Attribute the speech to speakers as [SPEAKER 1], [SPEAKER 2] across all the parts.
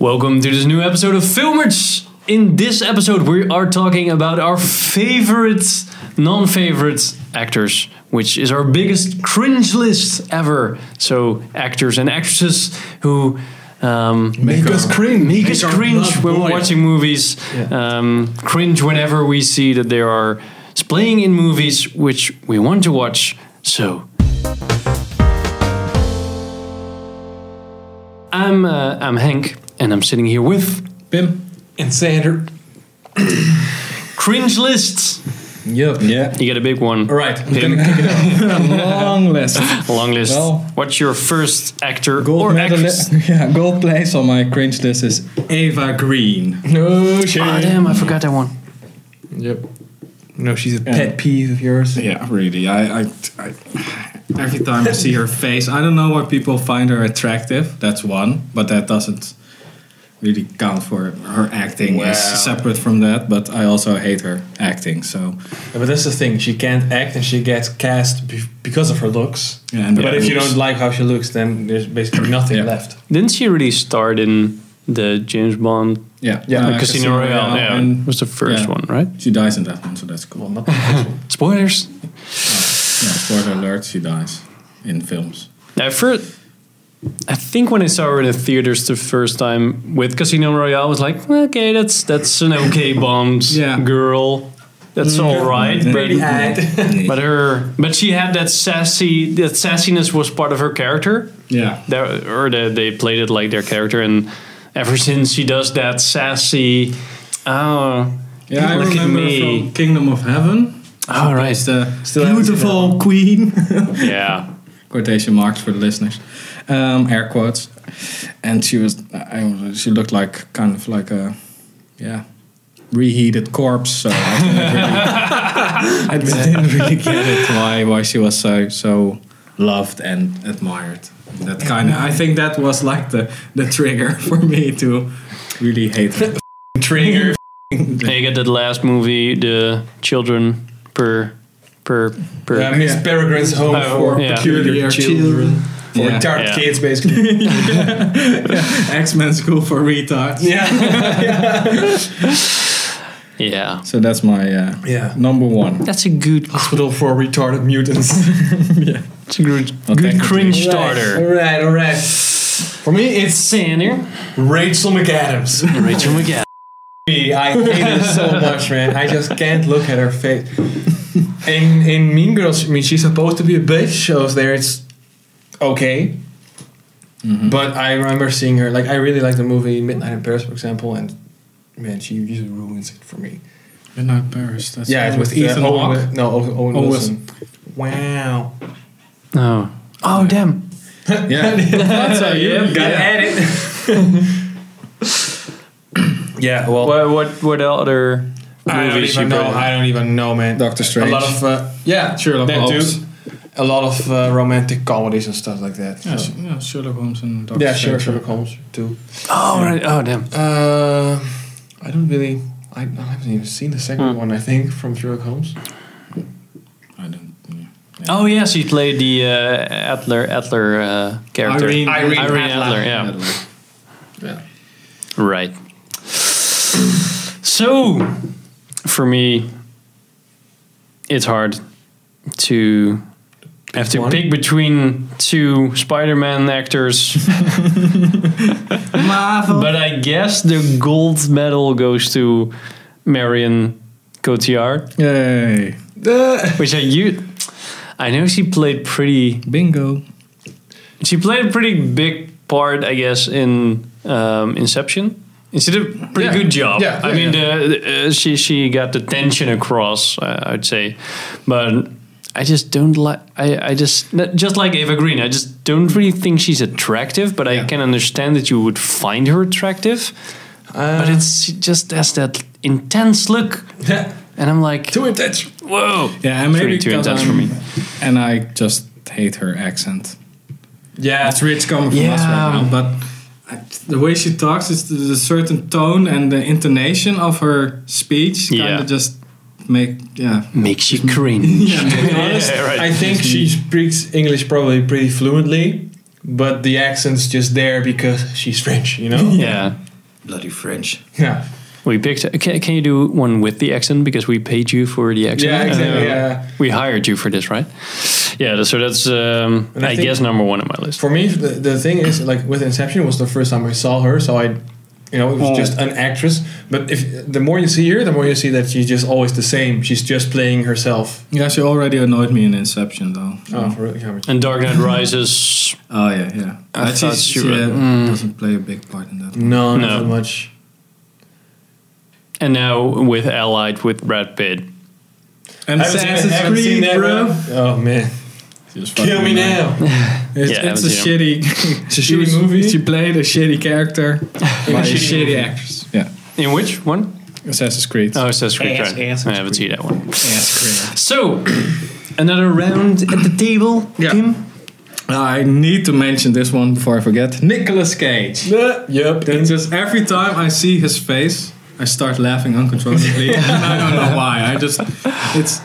[SPEAKER 1] Welcome to this new episode of Filmers. In this episode, we are talking about our favorite, non favorite actors, which is our biggest cringe list ever. So, actors and actresses who um,
[SPEAKER 2] Make us cringe.
[SPEAKER 1] Make us
[SPEAKER 2] Make our
[SPEAKER 1] cringe
[SPEAKER 2] blood
[SPEAKER 1] when we're
[SPEAKER 2] boil.
[SPEAKER 1] watching movies. Um, cringe whenever we see that they are playing in movies which we want to watch. So I'm uh, I'm Hank, and I'm sitting here with
[SPEAKER 2] Bim and Sander.
[SPEAKER 1] cringe lists.
[SPEAKER 2] Yep. Yeah.
[SPEAKER 1] You get a big one.
[SPEAKER 2] All right. I'm
[SPEAKER 1] Bim.
[SPEAKER 2] gonna kick it off. Long list.
[SPEAKER 1] Long list.
[SPEAKER 2] Well-
[SPEAKER 1] What's your first actor
[SPEAKER 2] Gold
[SPEAKER 1] or
[SPEAKER 2] medal.
[SPEAKER 1] actress?
[SPEAKER 2] Yeah. Gold place on my cringe list is Ava Green.
[SPEAKER 3] No shit.
[SPEAKER 1] Ah, damn, I forgot that one.
[SPEAKER 3] Yep. No, she's a
[SPEAKER 2] Pet peeve of yours.
[SPEAKER 3] Yeah, really. I, I, I
[SPEAKER 2] Every time I see her face, I don't know why people find her attractive. That's one, but that doesn't really count for her acting.
[SPEAKER 3] Well.
[SPEAKER 2] Is separate from that, but I also hate her acting. So
[SPEAKER 4] Yeah, but that's the thing. She can't act, and she gets cast be- because of her looks.
[SPEAKER 2] Yeah, and the
[SPEAKER 4] but if you
[SPEAKER 2] looks.
[SPEAKER 4] don't like how she looks, then there's basically nothing
[SPEAKER 2] Yeah.
[SPEAKER 4] left.
[SPEAKER 1] Didn't she really start in the James Bond
[SPEAKER 2] yeah,
[SPEAKER 4] Yeah,
[SPEAKER 2] uh,
[SPEAKER 1] Casino Royale? Yeah,
[SPEAKER 2] and
[SPEAKER 1] was the first
[SPEAKER 2] yeah.
[SPEAKER 1] one, right?
[SPEAKER 2] she dies in that one, so that's cool.
[SPEAKER 4] Well, not the first one.
[SPEAKER 1] Spoilers.
[SPEAKER 2] Yeah, spoiler alert: she dies in films.
[SPEAKER 1] I first, I think when I saw her in the theaters the first time with Casino Royale, I was like, okay, that's that's an okay Bond
[SPEAKER 2] Yeah. Mm.
[SPEAKER 1] girl. That's all right, but,
[SPEAKER 4] Bad.
[SPEAKER 1] but her, but she had that sassy, that sassiness was part of her character.
[SPEAKER 2] Yeah,
[SPEAKER 1] That, or the, they played it like their character, and ever since she does that sassy, oh,
[SPEAKER 2] Yeah, I
[SPEAKER 1] look at
[SPEAKER 2] remember
[SPEAKER 1] me,
[SPEAKER 2] from Kingdom of Heaven.
[SPEAKER 1] all right,
[SPEAKER 2] It's the
[SPEAKER 4] Still haven't seen
[SPEAKER 2] beautiful queen.
[SPEAKER 1] yeah,
[SPEAKER 2] Quotation marks for the listeners, um, air quotes. And she was, I, I- she looked like kind of like a, yeah, reheated corpse. So I didn't really, I didn't really get it why why she was so so loved and admired. That kind of, I think that was like the the trigger for me to really hate her.
[SPEAKER 4] Trigger.
[SPEAKER 1] and you get that last movie, the children per per per.
[SPEAKER 4] Yeah, Miss Peregrine's Home
[SPEAKER 1] Oh,
[SPEAKER 4] for
[SPEAKER 1] yeah.
[SPEAKER 4] Peculiar
[SPEAKER 2] Peculiar
[SPEAKER 4] Children. For
[SPEAKER 2] Yeah.
[SPEAKER 4] retarded
[SPEAKER 1] Yeah.
[SPEAKER 4] kids, basically.
[SPEAKER 2] X Men School for Retards.
[SPEAKER 4] yeah.
[SPEAKER 1] Yeah.
[SPEAKER 2] So that's my uh,
[SPEAKER 4] Yeah.
[SPEAKER 2] number one.
[SPEAKER 1] That's a good,
[SPEAKER 4] Hospital for retarded mutants.
[SPEAKER 1] that's a good,
[SPEAKER 2] Well,
[SPEAKER 1] good
[SPEAKER 2] technically.
[SPEAKER 1] cringe
[SPEAKER 4] All
[SPEAKER 1] starter.
[SPEAKER 4] right, all right. For me, it's
[SPEAKER 1] Sander,
[SPEAKER 4] Rachel McAdams.
[SPEAKER 1] Rachel McGann.
[SPEAKER 4] Me, I hate her so much, man. I just can't look at her face. In in Mean Girls, I mean, she's supposed to be a bitch, so there it's okay. But I remember seeing her like I really like the movie Midnight in Paris, for example, and man, she just ruins it for me.
[SPEAKER 2] Midnight Paris. That's
[SPEAKER 4] yeah, it's with uh, Ethan Owen,
[SPEAKER 2] Hawke.
[SPEAKER 4] Wi- no Owen, Owen
[SPEAKER 2] Owen
[SPEAKER 4] Wilson. Wow.
[SPEAKER 1] Oh. Oh, damn.
[SPEAKER 2] Yeah, that's how you
[SPEAKER 4] Got at it. yeah. Well,
[SPEAKER 1] What, what, what other
[SPEAKER 4] I don't
[SPEAKER 1] movies she
[SPEAKER 4] even know.
[SPEAKER 1] played in?
[SPEAKER 4] I don't even know, man.
[SPEAKER 2] Doctor Strange.
[SPEAKER 4] A lot of uh, yeah,
[SPEAKER 2] Sherlock
[SPEAKER 4] that
[SPEAKER 2] Holmes.
[SPEAKER 4] too. A lot of uh, romantic comedies and stuff like that.
[SPEAKER 2] Yeah,
[SPEAKER 4] so.
[SPEAKER 2] Sh- yeah, Sherlock Holmes and Doctor
[SPEAKER 4] yeah, sure,
[SPEAKER 2] Strange.
[SPEAKER 4] Sherlock Holmes too.
[SPEAKER 1] Oh, right. Oh, damn.
[SPEAKER 4] Uh, I don't really. I, I haven't even seen the second
[SPEAKER 2] Hmm.
[SPEAKER 4] one. I think from Sherlock Holmes.
[SPEAKER 2] I don't. Yeah.
[SPEAKER 1] Oh, yeah, she played the uh, Adler, Adler uh, character.
[SPEAKER 2] Irene-
[SPEAKER 4] Irene
[SPEAKER 1] Adler.
[SPEAKER 4] Adler.
[SPEAKER 1] yeah.
[SPEAKER 4] Yeah.
[SPEAKER 1] Right. So, for me, it's hard to have to
[SPEAKER 4] one?
[SPEAKER 1] pick between two Spider-Man actors. But I guess the gold medal goes to Marion Cotillard,
[SPEAKER 2] Yay!
[SPEAKER 1] which I you I know she played pretty
[SPEAKER 2] Bingo.
[SPEAKER 1] she played a pretty big part, I guess, in um, Inception. And she did a pretty
[SPEAKER 4] Yeah.
[SPEAKER 1] good job.
[SPEAKER 4] Yeah,
[SPEAKER 1] I
[SPEAKER 4] yeah,
[SPEAKER 1] mean, The, uh, she she got the tension across, uh, I'd say, but I just don't like. I I just not- just like Ava Green. I just don't really think she's attractive, but I can understand that you would find her attractive. but
[SPEAKER 4] Uh,
[SPEAKER 1] it's she just has that intense look,
[SPEAKER 4] yeah.
[SPEAKER 1] and I'm like,
[SPEAKER 4] Too intense.
[SPEAKER 1] whoa.
[SPEAKER 2] Yeah, and maybe
[SPEAKER 1] Pretty too
[SPEAKER 2] because
[SPEAKER 1] intense for
[SPEAKER 2] I'm-
[SPEAKER 1] me.
[SPEAKER 2] And I just hate her accent.
[SPEAKER 4] Yeah.
[SPEAKER 2] That's rich coming from
[SPEAKER 1] Yeah.
[SPEAKER 2] us right now, but. I- The way she talks is the, the certain tone and the intonation of her speech kind
[SPEAKER 1] Yeah.
[SPEAKER 2] of just make yeah
[SPEAKER 1] Makes you cringe.
[SPEAKER 2] yeah
[SPEAKER 4] To be honest,
[SPEAKER 1] Yeah, right.
[SPEAKER 4] I think she speaks English probably pretty fluently, but the accent's just there because she's French. You know.
[SPEAKER 1] yeah.
[SPEAKER 3] Bloody French.
[SPEAKER 4] Yeah.
[SPEAKER 1] We picked. Can, can you do one with the accent because we paid you for the accent?
[SPEAKER 4] Yeah, exactly, yeah.
[SPEAKER 1] We hired you for this, right? Yeah. th- So that's um,
[SPEAKER 4] And I
[SPEAKER 1] I,
[SPEAKER 4] think-
[SPEAKER 1] guess number one on my list.
[SPEAKER 4] For me, the, the thing is, like with Inception, was the first time I saw her, so I, you know, it was
[SPEAKER 3] Oh.
[SPEAKER 4] just an actress. But if the more you see her, the more you see that she's just always the same. She's just playing herself.
[SPEAKER 2] Yeah, she already annoyed me in Inception though.
[SPEAKER 4] Oh,
[SPEAKER 2] So-
[SPEAKER 4] for real? Yeah, but-
[SPEAKER 1] And Dark Knight Rises.
[SPEAKER 2] Oh yeah, yeah.
[SPEAKER 1] I thought
[SPEAKER 2] But she's-
[SPEAKER 1] she
[SPEAKER 2] she
[SPEAKER 1] would-
[SPEAKER 2] uh,
[SPEAKER 1] Mm.
[SPEAKER 2] doesn't play a big part in that.
[SPEAKER 4] No,
[SPEAKER 1] No.
[SPEAKER 4] not that much.
[SPEAKER 1] And now with Allied with Brad Pitt.
[SPEAKER 2] And
[SPEAKER 4] I haven't seen- I haven't seen that one. Oh man, kill me now.
[SPEAKER 2] It's,
[SPEAKER 1] Yeah, I
[SPEAKER 2] it's
[SPEAKER 1] haven't
[SPEAKER 2] a
[SPEAKER 1] seen
[SPEAKER 2] shitty. it's
[SPEAKER 4] a shitty movie.
[SPEAKER 2] She played a shitty character by a shitty actress. Yeah,
[SPEAKER 1] In which one?
[SPEAKER 2] Assassin's Creed.
[SPEAKER 1] Oh, Assassin's Creed.
[SPEAKER 3] Yes,
[SPEAKER 1] right.
[SPEAKER 3] yes,
[SPEAKER 1] I haven't seen that one.
[SPEAKER 2] Assassin's Creed.
[SPEAKER 1] So another round at the table.
[SPEAKER 2] Yeah.
[SPEAKER 1] Tim?
[SPEAKER 2] I need to mention this one before I forget. Nicolas Cage.
[SPEAKER 4] Yeah, yep.
[SPEAKER 2] It's just every time I see his face, I start laughing uncontrollably. and I don't know why. I just it's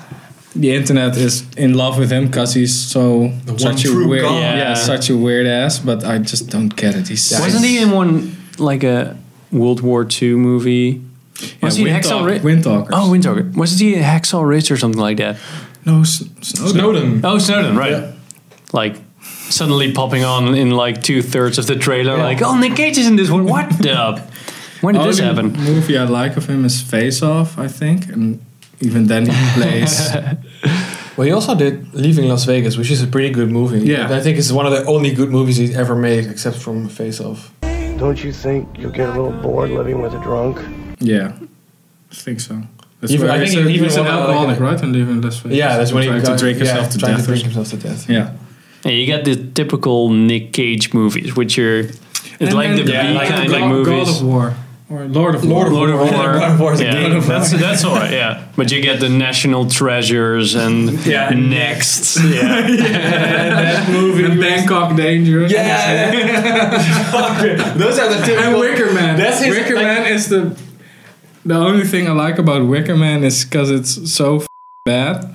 [SPEAKER 2] the internet is in love with him because he's so
[SPEAKER 4] The one
[SPEAKER 2] such a
[SPEAKER 4] true
[SPEAKER 2] weird,
[SPEAKER 4] god.
[SPEAKER 2] yeah.
[SPEAKER 1] Yeah.
[SPEAKER 2] such a weird ass. But I just don't get it. He's
[SPEAKER 1] Wasn't he in one like a World War II movie? Was he in Hacksaw Ridge?
[SPEAKER 2] Wind Talkers.
[SPEAKER 1] Oh, Windtalker. Was he in Hacksaw Ridge or something like that?
[SPEAKER 2] no, S- Snowden.
[SPEAKER 4] Snowden.
[SPEAKER 1] Oh, Snowden, right?
[SPEAKER 4] Yeah.
[SPEAKER 1] Like suddenly popping on in like two thirds of the trailer, like, oh, Nick Cage is in this one. What the? When did
[SPEAKER 4] Oh,
[SPEAKER 2] Only
[SPEAKER 1] this happen?
[SPEAKER 2] movie I like of him is Face Off, I think, and even then he plays.
[SPEAKER 4] Well, he also did Leaving Las Vegas, which is a pretty good movie.
[SPEAKER 2] Yeah.
[SPEAKER 4] And I think it's one of the only good movies he's ever made, except from Face Off.
[SPEAKER 5] Don't you think you'll get a little bored living with a drunk?
[SPEAKER 2] yeah, I think so. That's
[SPEAKER 4] Even-
[SPEAKER 2] where-
[SPEAKER 4] I think
[SPEAKER 2] he's a-
[SPEAKER 4] even
[SPEAKER 2] he's an
[SPEAKER 4] one of the-
[SPEAKER 2] alcoholic, right? And even Las Vegas.
[SPEAKER 4] Yeah, that's when he
[SPEAKER 2] trying to
[SPEAKER 4] got-
[SPEAKER 2] drink
[SPEAKER 4] yeah,
[SPEAKER 2] himself to
[SPEAKER 4] trying
[SPEAKER 2] death.
[SPEAKER 4] to
[SPEAKER 2] or
[SPEAKER 4] drink himself to death.
[SPEAKER 2] Yeah.
[SPEAKER 1] Yeah, you got the typical Nick Cage movies, which are it's like the
[SPEAKER 4] yeah,
[SPEAKER 1] B
[SPEAKER 4] like
[SPEAKER 1] kind
[SPEAKER 4] the
[SPEAKER 1] of
[SPEAKER 4] God-
[SPEAKER 1] movies.
[SPEAKER 2] God of War. Or Lord of
[SPEAKER 4] Lord
[SPEAKER 2] War.
[SPEAKER 1] Lord
[SPEAKER 4] of
[SPEAKER 1] of War.
[SPEAKER 4] God of War is a game
[SPEAKER 1] yeah,
[SPEAKER 4] of
[SPEAKER 1] that's, that's all right, yeah. But you get the National Treasures and
[SPEAKER 4] Yeah.
[SPEAKER 1] Next. Yeah.
[SPEAKER 2] That movie. And Bangkok Dangerous.
[SPEAKER 4] Yeah. Those are the two.
[SPEAKER 2] And Wicker Man.
[SPEAKER 4] That's his-
[SPEAKER 2] Wicker
[SPEAKER 4] like-
[SPEAKER 2] Man is the... The only thing I like about Wicker Man is because it's so f- bad.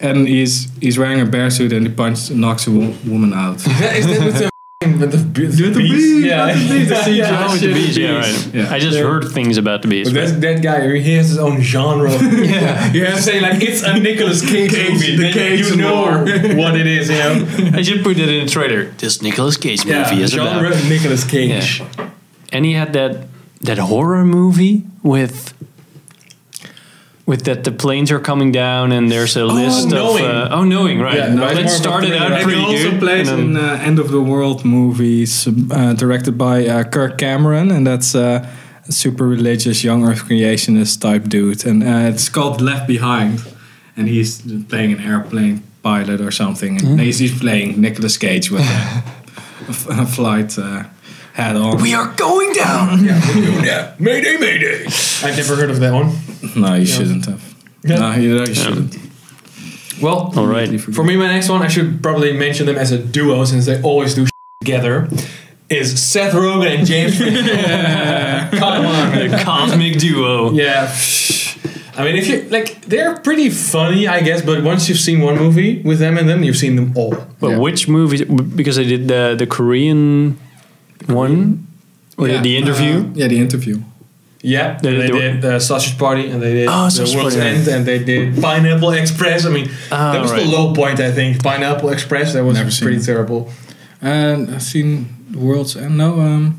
[SPEAKER 2] And he's he's wearing a bear suit and he punches, knocks a wo- woman out.
[SPEAKER 4] That is that with the with the, be-
[SPEAKER 2] With the
[SPEAKER 4] bees?
[SPEAKER 2] bees,
[SPEAKER 4] Yeah.
[SPEAKER 2] with the bees, the
[SPEAKER 4] Yeah,
[SPEAKER 2] CGI
[SPEAKER 4] yeah,
[SPEAKER 2] shit.
[SPEAKER 4] with the
[SPEAKER 1] Bees,
[SPEAKER 4] bees.
[SPEAKER 1] yeah, right.
[SPEAKER 2] Yeah.
[SPEAKER 1] I just
[SPEAKER 4] Yeah.
[SPEAKER 1] heard things about the bees.
[SPEAKER 4] But
[SPEAKER 1] but-
[SPEAKER 4] that's, that guy, he has his own genre. yeah, you have to say like it's a Nicolas Cage, movie.
[SPEAKER 2] the
[SPEAKER 4] then
[SPEAKER 2] Cage
[SPEAKER 4] you know what it is, you know.
[SPEAKER 1] I should put it in a trailer. This Nicolas Cage movie
[SPEAKER 4] Yeah,
[SPEAKER 1] is about.
[SPEAKER 4] genre Nicolas Cage.
[SPEAKER 1] and he had that that horror movie with with that the planes are coming down and there's a list
[SPEAKER 4] Oh, Knowing.
[SPEAKER 1] of uh, oh knowing right
[SPEAKER 4] Yeah,
[SPEAKER 1] no, that
[SPEAKER 4] Knowing. More of a
[SPEAKER 1] started
[SPEAKER 4] thriller,
[SPEAKER 1] out
[SPEAKER 4] right?
[SPEAKER 2] And
[SPEAKER 1] pretty
[SPEAKER 2] he also
[SPEAKER 1] good
[SPEAKER 2] plays
[SPEAKER 1] and
[SPEAKER 2] in
[SPEAKER 4] um,
[SPEAKER 1] then-
[SPEAKER 2] uh, End of the World movies uh, directed by uh, Kirk Cameron, and that's uh, a super religious young earth creationist type dude. And uh, it's called Left Behind, and he's playing an airplane pilot or something. And he's, he's playing Nicolas Cage with a, a f- a flight uh, hat on.
[SPEAKER 1] we are going down
[SPEAKER 4] Yeah, Mayday, Mayday. I've never heard of that one.
[SPEAKER 2] no, you shouldn't have.
[SPEAKER 4] Yeah.
[SPEAKER 2] No, you, you shouldn't.
[SPEAKER 4] Well,
[SPEAKER 1] all right
[SPEAKER 4] for me, my next one, I should probably mention them as a duo since they always do together. Is Seth Rogen and James? Come on, man.
[SPEAKER 1] the cosmic duo
[SPEAKER 4] Yeah. I mean, if you like, they're pretty funny, I guess. But once you've seen one movie with them and them, you've seen them all.
[SPEAKER 1] but which movie because I did the the Korean one or the, the interview
[SPEAKER 2] Uh, yeah, the interview.
[SPEAKER 4] Yeah,
[SPEAKER 1] They
[SPEAKER 4] they,
[SPEAKER 1] did the-
[SPEAKER 4] did uh, Sausage Party, and they did
[SPEAKER 1] Oh,
[SPEAKER 4] The
[SPEAKER 1] Sausage
[SPEAKER 4] World's
[SPEAKER 1] Party, yeah.
[SPEAKER 4] End, and they did Pineapple Express. I mean,
[SPEAKER 1] Ah,
[SPEAKER 4] that was
[SPEAKER 1] right.
[SPEAKER 4] the low point, I think. Pineapple Express, that was
[SPEAKER 2] Never seen
[SPEAKER 4] pretty
[SPEAKER 2] it.
[SPEAKER 4] terrible.
[SPEAKER 2] And I've seen the world's end. No, um,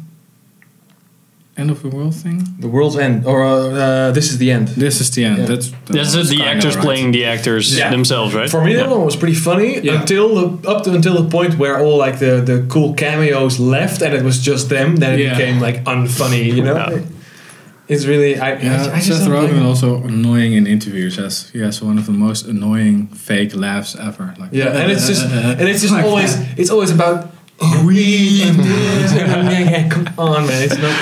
[SPEAKER 2] end of the world thing.
[SPEAKER 4] The World's End, or uh, uh, This is the End.
[SPEAKER 2] This is the end.
[SPEAKER 4] Yeah.
[SPEAKER 2] That's
[SPEAKER 1] that's
[SPEAKER 2] that's
[SPEAKER 1] the
[SPEAKER 2] kinda
[SPEAKER 1] actors
[SPEAKER 2] right.
[SPEAKER 1] playing the actors
[SPEAKER 4] Yeah.
[SPEAKER 1] themselves right
[SPEAKER 4] For me, that
[SPEAKER 1] Yeah.
[SPEAKER 4] one was pretty funny
[SPEAKER 2] Yeah.
[SPEAKER 4] until the, up to until the point where all like the, the cool cameos left, and it was just them. Then it
[SPEAKER 2] Yeah.
[SPEAKER 4] became like unfunny, you know.
[SPEAKER 1] Yeah.
[SPEAKER 4] It's really I,
[SPEAKER 2] Yeah,
[SPEAKER 4] I, I just
[SPEAKER 2] Seth
[SPEAKER 4] don't like
[SPEAKER 2] Rogen
[SPEAKER 4] it.
[SPEAKER 2] also annoying in interviews. Has he has one of the most annoying fake laughs ever. Like
[SPEAKER 4] Yeah, and it's just and it's just
[SPEAKER 2] Like
[SPEAKER 4] always
[SPEAKER 2] that.
[SPEAKER 4] it's always about oh, we and this and that. yeah, come on, man. It's not.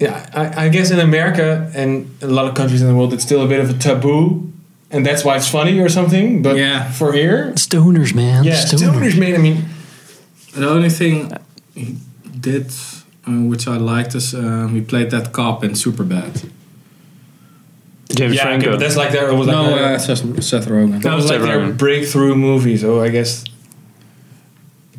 [SPEAKER 4] Yeah, I, I guess in America and a lot of countries in the world, it's still a bit of a taboo, and that's why it's funny or something. But
[SPEAKER 2] Yeah.
[SPEAKER 4] for here,
[SPEAKER 1] stoners man
[SPEAKER 4] yeah, stoners, man. I mean,
[SPEAKER 2] the only thing he did, uh, which I liked, is um, he played that cop in Superbad.
[SPEAKER 1] James
[SPEAKER 4] yeah, okay,
[SPEAKER 1] Franco
[SPEAKER 4] but that's like their was like
[SPEAKER 2] No,
[SPEAKER 4] their-
[SPEAKER 2] uh, Seth, Seth Rogen.
[SPEAKER 4] that oh, was
[SPEAKER 1] Seth
[SPEAKER 4] like their
[SPEAKER 1] Rogen.
[SPEAKER 4] breakthrough movie. So I guess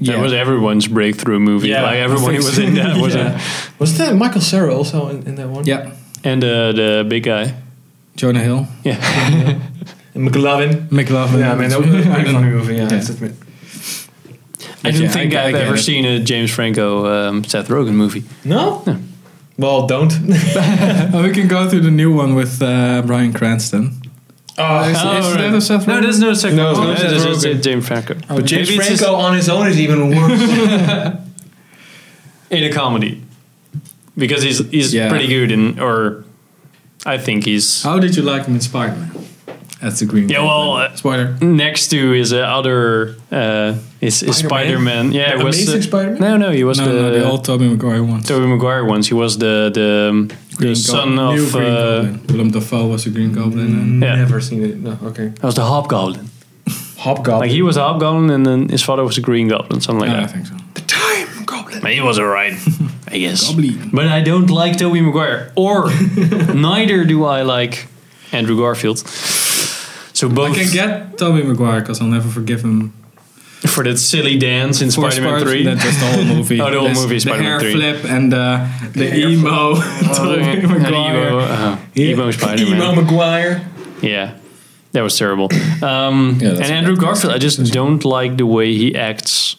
[SPEAKER 1] That
[SPEAKER 2] Yeah.
[SPEAKER 1] was everyone's breakthrough movie.
[SPEAKER 4] Yeah,
[SPEAKER 1] like
[SPEAKER 4] I
[SPEAKER 1] everyone
[SPEAKER 4] think
[SPEAKER 1] was
[SPEAKER 4] so.
[SPEAKER 1] in that. Was
[SPEAKER 4] Yeah. Was that Michael Cera also in, in that one?
[SPEAKER 2] Yeah,
[SPEAKER 1] And uh, the big guy.
[SPEAKER 2] Jonah Hill,
[SPEAKER 1] Yeah.
[SPEAKER 4] And McLovin.
[SPEAKER 2] McLovin.
[SPEAKER 4] Yeah, man, that was a
[SPEAKER 2] Mm-hmm. I
[SPEAKER 4] pretty
[SPEAKER 2] don't
[SPEAKER 4] funny
[SPEAKER 2] know.
[SPEAKER 4] movie. Yeah,
[SPEAKER 2] Yeah.
[SPEAKER 4] it's admit.
[SPEAKER 1] I don't
[SPEAKER 2] Yeah,
[SPEAKER 1] think
[SPEAKER 2] I- I
[SPEAKER 1] I've
[SPEAKER 2] get
[SPEAKER 1] ever
[SPEAKER 2] it.
[SPEAKER 1] seen a James Franco um, Seth Rogen movie.
[SPEAKER 4] No? Well, don't.
[SPEAKER 2] Oh, we can go through the new one with uh, Brian Cranston.
[SPEAKER 4] oh,
[SPEAKER 2] Is- is that a Seth
[SPEAKER 1] No,
[SPEAKER 2] Rogen?
[SPEAKER 1] there's no Seth
[SPEAKER 4] No,
[SPEAKER 1] Rogen.
[SPEAKER 4] it's not Seth
[SPEAKER 1] there's
[SPEAKER 4] Rogen.
[SPEAKER 1] just James Franco.
[SPEAKER 2] But
[SPEAKER 4] James
[SPEAKER 1] maybe it's
[SPEAKER 4] Franco on his own is even worse.
[SPEAKER 1] just in a comedy because he's he's
[SPEAKER 2] Yeah.
[SPEAKER 1] pretty good in or I think he's
[SPEAKER 2] How did you like him in Spider Man? That's the Green.
[SPEAKER 1] Yeah,
[SPEAKER 2] Goblin.
[SPEAKER 1] well, uh,
[SPEAKER 2] spoiler.
[SPEAKER 1] next to his uh, other uh, is, is
[SPEAKER 4] Spider-Man?
[SPEAKER 1] Spider-Man. Yeah, it
[SPEAKER 4] The
[SPEAKER 1] was
[SPEAKER 4] Amazing
[SPEAKER 1] uh,
[SPEAKER 4] Spider-Man?
[SPEAKER 1] No, no, he was
[SPEAKER 2] No,
[SPEAKER 1] the,
[SPEAKER 2] no, the old Tobey Maguire one.
[SPEAKER 1] Tobey Maguire ones. He was the the, um, the son
[SPEAKER 2] Goblin. New
[SPEAKER 1] of
[SPEAKER 2] Green
[SPEAKER 1] uh,
[SPEAKER 2] Goblin. Willem Dafoe was the Green Goblin. And
[SPEAKER 1] Yeah.
[SPEAKER 4] Never seen it. No, okay.
[SPEAKER 1] that was the Hobgoblin.
[SPEAKER 4] Hobgoblin.
[SPEAKER 1] Like he was a Hobgoblin, and then his father was a Green Goblin, something like
[SPEAKER 2] Yeah, I
[SPEAKER 1] that.
[SPEAKER 2] think so.
[SPEAKER 4] time goblin.
[SPEAKER 1] But he was alright, I guess.
[SPEAKER 2] Goblin.
[SPEAKER 1] But I don't like Tobey Maguire, or neither do I like Andrew Garfield. So
[SPEAKER 2] I
[SPEAKER 1] both
[SPEAKER 2] can get Tobey Maguire because I'll never forgive him
[SPEAKER 1] for that silly dance in
[SPEAKER 2] for
[SPEAKER 1] Spider-Man
[SPEAKER 2] Spider-
[SPEAKER 1] Three.
[SPEAKER 2] That's just the whole movie.
[SPEAKER 1] Oh, the whole
[SPEAKER 2] That's
[SPEAKER 1] movie,
[SPEAKER 2] The
[SPEAKER 1] Spider-Man
[SPEAKER 2] hair
[SPEAKER 1] 3.
[SPEAKER 2] flip and uh, the,
[SPEAKER 4] hair
[SPEAKER 2] emo. Tobey
[SPEAKER 1] And Oh, Emo,
[SPEAKER 2] Maguire.
[SPEAKER 1] uh, Emo Spider-Man.
[SPEAKER 4] Emo Maguire.
[SPEAKER 1] Yeah, that was terrible. Um,
[SPEAKER 2] Yeah,
[SPEAKER 1] and
[SPEAKER 2] that's-
[SPEAKER 1] Andrew Garfield, I just don't like the way he acts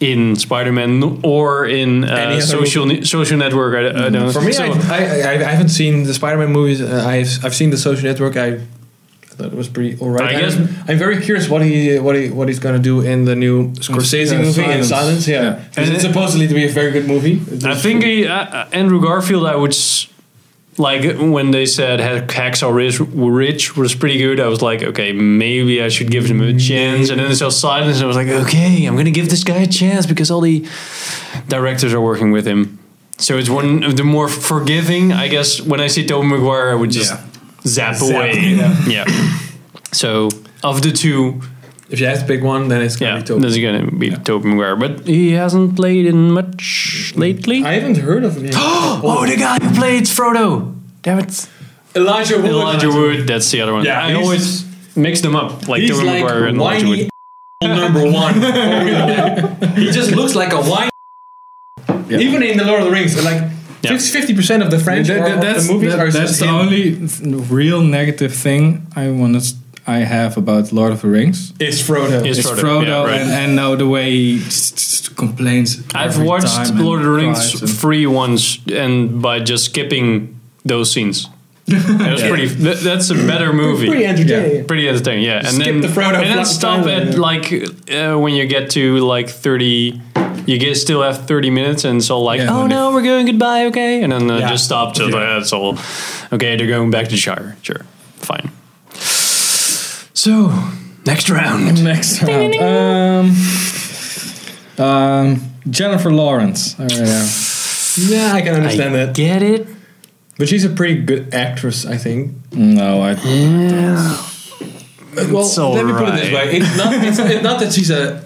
[SPEAKER 1] in Spider-Man or in
[SPEAKER 4] Any
[SPEAKER 1] uh,
[SPEAKER 4] other
[SPEAKER 1] social ne- social network. I,
[SPEAKER 2] Mm-hmm.
[SPEAKER 1] I don't.
[SPEAKER 4] For me,
[SPEAKER 1] so,
[SPEAKER 4] I, I, I, I haven't seen the Spider-Man movies. Uh, I've I've seen the Social Network. I, I thought it was pretty alright.
[SPEAKER 1] I guess-
[SPEAKER 4] I'm, I'm very curious what he what he what he's gonna do in the new Scorsese
[SPEAKER 2] Yeah,
[SPEAKER 4] movie in
[SPEAKER 2] Silence.
[SPEAKER 4] Silence. Yeah,
[SPEAKER 2] Yeah.
[SPEAKER 4] Is
[SPEAKER 1] And
[SPEAKER 4] it
[SPEAKER 1] it-
[SPEAKER 4] supposedly to be a very good movie.
[SPEAKER 1] I think he, uh, uh, Andrew Garfield, I would. S- like when they said Hack- Hacksaw Ridge, Ridge was pretty good, I was like, okay, maybe I should give him a chance. And then I saw Silence, and I was like, okay, I'm gonna give this guy a chance because all the directors are working with him. So it's one of the more forgiving, I guess. When I see Tobey Maguire, I would just
[SPEAKER 2] Yeah.
[SPEAKER 1] zap, away.
[SPEAKER 4] yeah.
[SPEAKER 1] Yeah. So of the two,
[SPEAKER 4] if you have to pick one, then it's gonna
[SPEAKER 1] yeah,
[SPEAKER 4] be Toby.
[SPEAKER 1] there's gonna be Tobey Maguire, but he hasn't played in much lately.
[SPEAKER 4] I haven't heard of him.
[SPEAKER 1] Oh, the guy who played Frodo. Damn it.
[SPEAKER 4] Elijah Wood.
[SPEAKER 1] Elijah Wood. That's the other one.
[SPEAKER 4] Yeah,
[SPEAKER 1] I
[SPEAKER 4] he's-
[SPEAKER 1] always mix them up, like
[SPEAKER 4] He's
[SPEAKER 1] Tobey
[SPEAKER 4] like
[SPEAKER 1] Maguire and Elijah Wood.
[SPEAKER 4] whiny number one. Oh, he just looks like a whiny. Even in the Lord of the Rings, like
[SPEAKER 1] Yeah.
[SPEAKER 4] fifty percent of the French
[SPEAKER 2] That-
[SPEAKER 4] or
[SPEAKER 2] that-
[SPEAKER 4] of
[SPEAKER 2] that's
[SPEAKER 4] the movies
[SPEAKER 2] that-
[SPEAKER 4] are
[SPEAKER 2] that's
[SPEAKER 4] just
[SPEAKER 2] the
[SPEAKER 4] him.
[SPEAKER 2] only th- real negative thing I want to. I have about Lord of the Rings.
[SPEAKER 4] It's Frodo.
[SPEAKER 1] It's
[SPEAKER 2] It's
[SPEAKER 1] Frodo,
[SPEAKER 2] Frodo,
[SPEAKER 1] yeah, right.
[SPEAKER 2] and, and now the way he s- s- complains.
[SPEAKER 1] I've
[SPEAKER 2] every
[SPEAKER 1] watched
[SPEAKER 2] time and
[SPEAKER 1] Lord of the
[SPEAKER 2] cries and-
[SPEAKER 1] Rings free once, and by just skipping those scenes, that was pretty. That, that's a better movie.
[SPEAKER 4] pretty entertaining.
[SPEAKER 1] Pretty entertaining, yeah. And
[SPEAKER 4] Skip
[SPEAKER 1] then
[SPEAKER 4] the Frodo
[SPEAKER 1] and then
[SPEAKER 4] Flash
[SPEAKER 1] stop
[SPEAKER 4] Gordon,
[SPEAKER 1] at
[SPEAKER 4] yeah.
[SPEAKER 1] like uh, when you get to like thirty, you get still have thirty minutes, and it's all like,
[SPEAKER 2] Yeah,
[SPEAKER 1] oh
[SPEAKER 2] when
[SPEAKER 1] no, we're going goodbye, okay, and then uh,
[SPEAKER 4] Yeah.
[SPEAKER 1] just stop to that's all. Okay, they're going back to Shire. Sure, fine. So next round,
[SPEAKER 2] Next round. Um, um, Jennifer Lawrence. All right, yeah.
[SPEAKER 4] Yeah, I can
[SPEAKER 1] I
[SPEAKER 4] understand that.
[SPEAKER 1] get it.
[SPEAKER 4] But she's a pretty good actress, I think.
[SPEAKER 2] No, I.
[SPEAKER 4] Well,
[SPEAKER 1] It's
[SPEAKER 4] let me put it
[SPEAKER 1] alright.
[SPEAKER 4] this way: it's not, it's, it's not that she's a,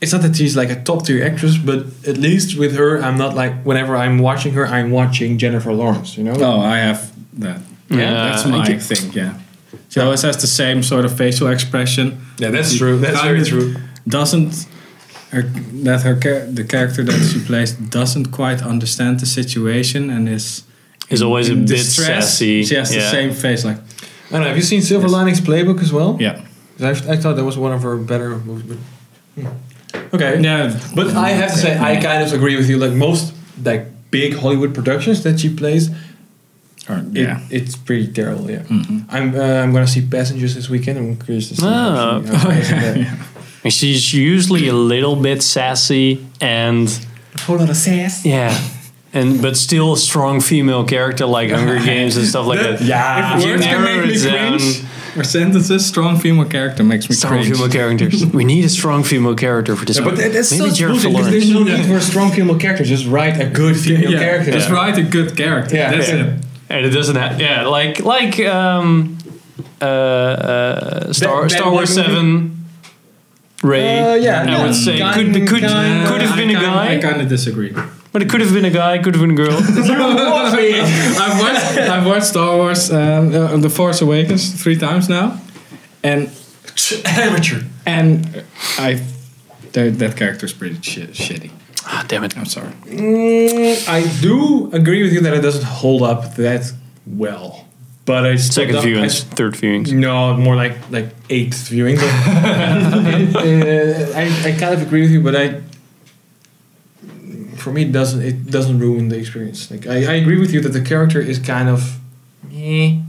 [SPEAKER 4] it's not that she's like a top tier actress, but at least with her, I'm not like whenever I'm watching her, I'm watching Jennifer Lawrence. You know?
[SPEAKER 2] Oh, I have that.
[SPEAKER 1] Yeah,
[SPEAKER 2] that's
[SPEAKER 1] I
[SPEAKER 2] my
[SPEAKER 1] get-
[SPEAKER 2] thing. Yeah, she always has the same sort of facial expression.
[SPEAKER 4] Yeah, that's true. That's
[SPEAKER 2] Kind
[SPEAKER 4] very
[SPEAKER 2] of
[SPEAKER 4] true.
[SPEAKER 2] Doesn't her, that her cha- the character that she plays doesn't quite understand the situation and is
[SPEAKER 1] Is always a bit
[SPEAKER 2] distress.
[SPEAKER 1] sassy.
[SPEAKER 2] She has the
[SPEAKER 1] Yeah.
[SPEAKER 2] same face, like
[SPEAKER 4] I don't know. Have you seen Silver Linings Playbook as well?
[SPEAKER 2] yeah,
[SPEAKER 4] I, I thought that was one of her better movies. But, Hmm. okay.
[SPEAKER 2] yeah.
[SPEAKER 4] But I have to say, I kind of agree with you. Like most like big Hollywood productions that she plays,
[SPEAKER 2] Or,
[SPEAKER 4] it,
[SPEAKER 2] yeah.
[SPEAKER 4] it's pretty terrible. Yeah,
[SPEAKER 1] Mm-hmm.
[SPEAKER 4] I'm uh, I'm gonna see Passengers this weekend. I'm curious to see.
[SPEAKER 1] Ah.
[SPEAKER 4] how she- how she plays in that.
[SPEAKER 1] And she's usually a little bit sassy and
[SPEAKER 4] Whole lot of sass.
[SPEAKER 1] yeah, and but still a strong female character like Hunger Games and stuff like that.
[SPEAKER 4] Yeah.
[SPEAKER 1] If
[SPEAKER 2] Words can make me
[SPEAKER 1] narrow it down,
[SPEAKER 2] cringe. Or sentences, strong female character makes me
[SPEAKER 1] Strong
[SPEAKER 2] cringe.
[SPEAKER 1] female characters. We need a strong female character for this.
[SPEAKER 4] Yeah,
[SPEAKER 1] one.
[SPEAKER 4] but that- that's
[SPEAKER 1] Maybe
[SPEAKER 4] so
[SPEAKER 1] Jennifer
[SPEAKER 4] bullshit, because
[SPEAKER 1] Lawrence.
[SPEAKER 4] there's no need for a strong female character. Just write a good female
[SPEAKER 2] yeah,
[SPEAKER 4] character.
[SPEAKER 2] just write a good character.
[SPEAKER 4] Yeah. Uh,
[SPEAKER 2] that's
[SPEAKER 4] Yeah.
[SPEAKER 2] it.
[SPEAKER 1] And it doesn't have yeah, like like um, uh, uh, Star
[SPEAKER 4] Bat-
[SPEAKER 1] Star Wars
[SPEAKER 4] Batman
[SPEAKER 1] Seven. Ray,
[SPEAKER 4] Uh, yeah,
[SPEAKER 1] I
[SPEAKER 4] yeah.
[SPEAKER 1] would say
[SPEAKER 4] Gun-
[SPEAKER 1] could could
[SPEAKER 4] gun-
[SPEAKER 1] could have been a
[SPEAKER 2] I kinda- I
[SPEAKER 1] guy,
[SPEAKER 2] kind of disagree.
[SPEAKER 1] but it could have been a guy, could have been a girl.
[SPEAKER 2] I've watched I've watched Star Wars um, uh, The Force Awakens three times now, and
[SPEAKER 4] Amateur.
[SPEAKER 2] and I That, that character's pretty shit, shitty.
[SPEAKER 1] Ah, damn it.
[SPEAKER 2] I'm sorry.
[SPEAKER 4] Mm, I do agree with you that it doesn't hold up that well. But I still
[SPEAKER 1] Second
[SPEAKER 4] don't- I
[SPEAKER 1] viewings, third viewings.
[SPEAKER 4] No, more like like eighth viewing. But uh, I, I kind of agree with you, but I for me it doesn't it doesn't ruin the experience. Like I, I agree with you that the character is kind of eh.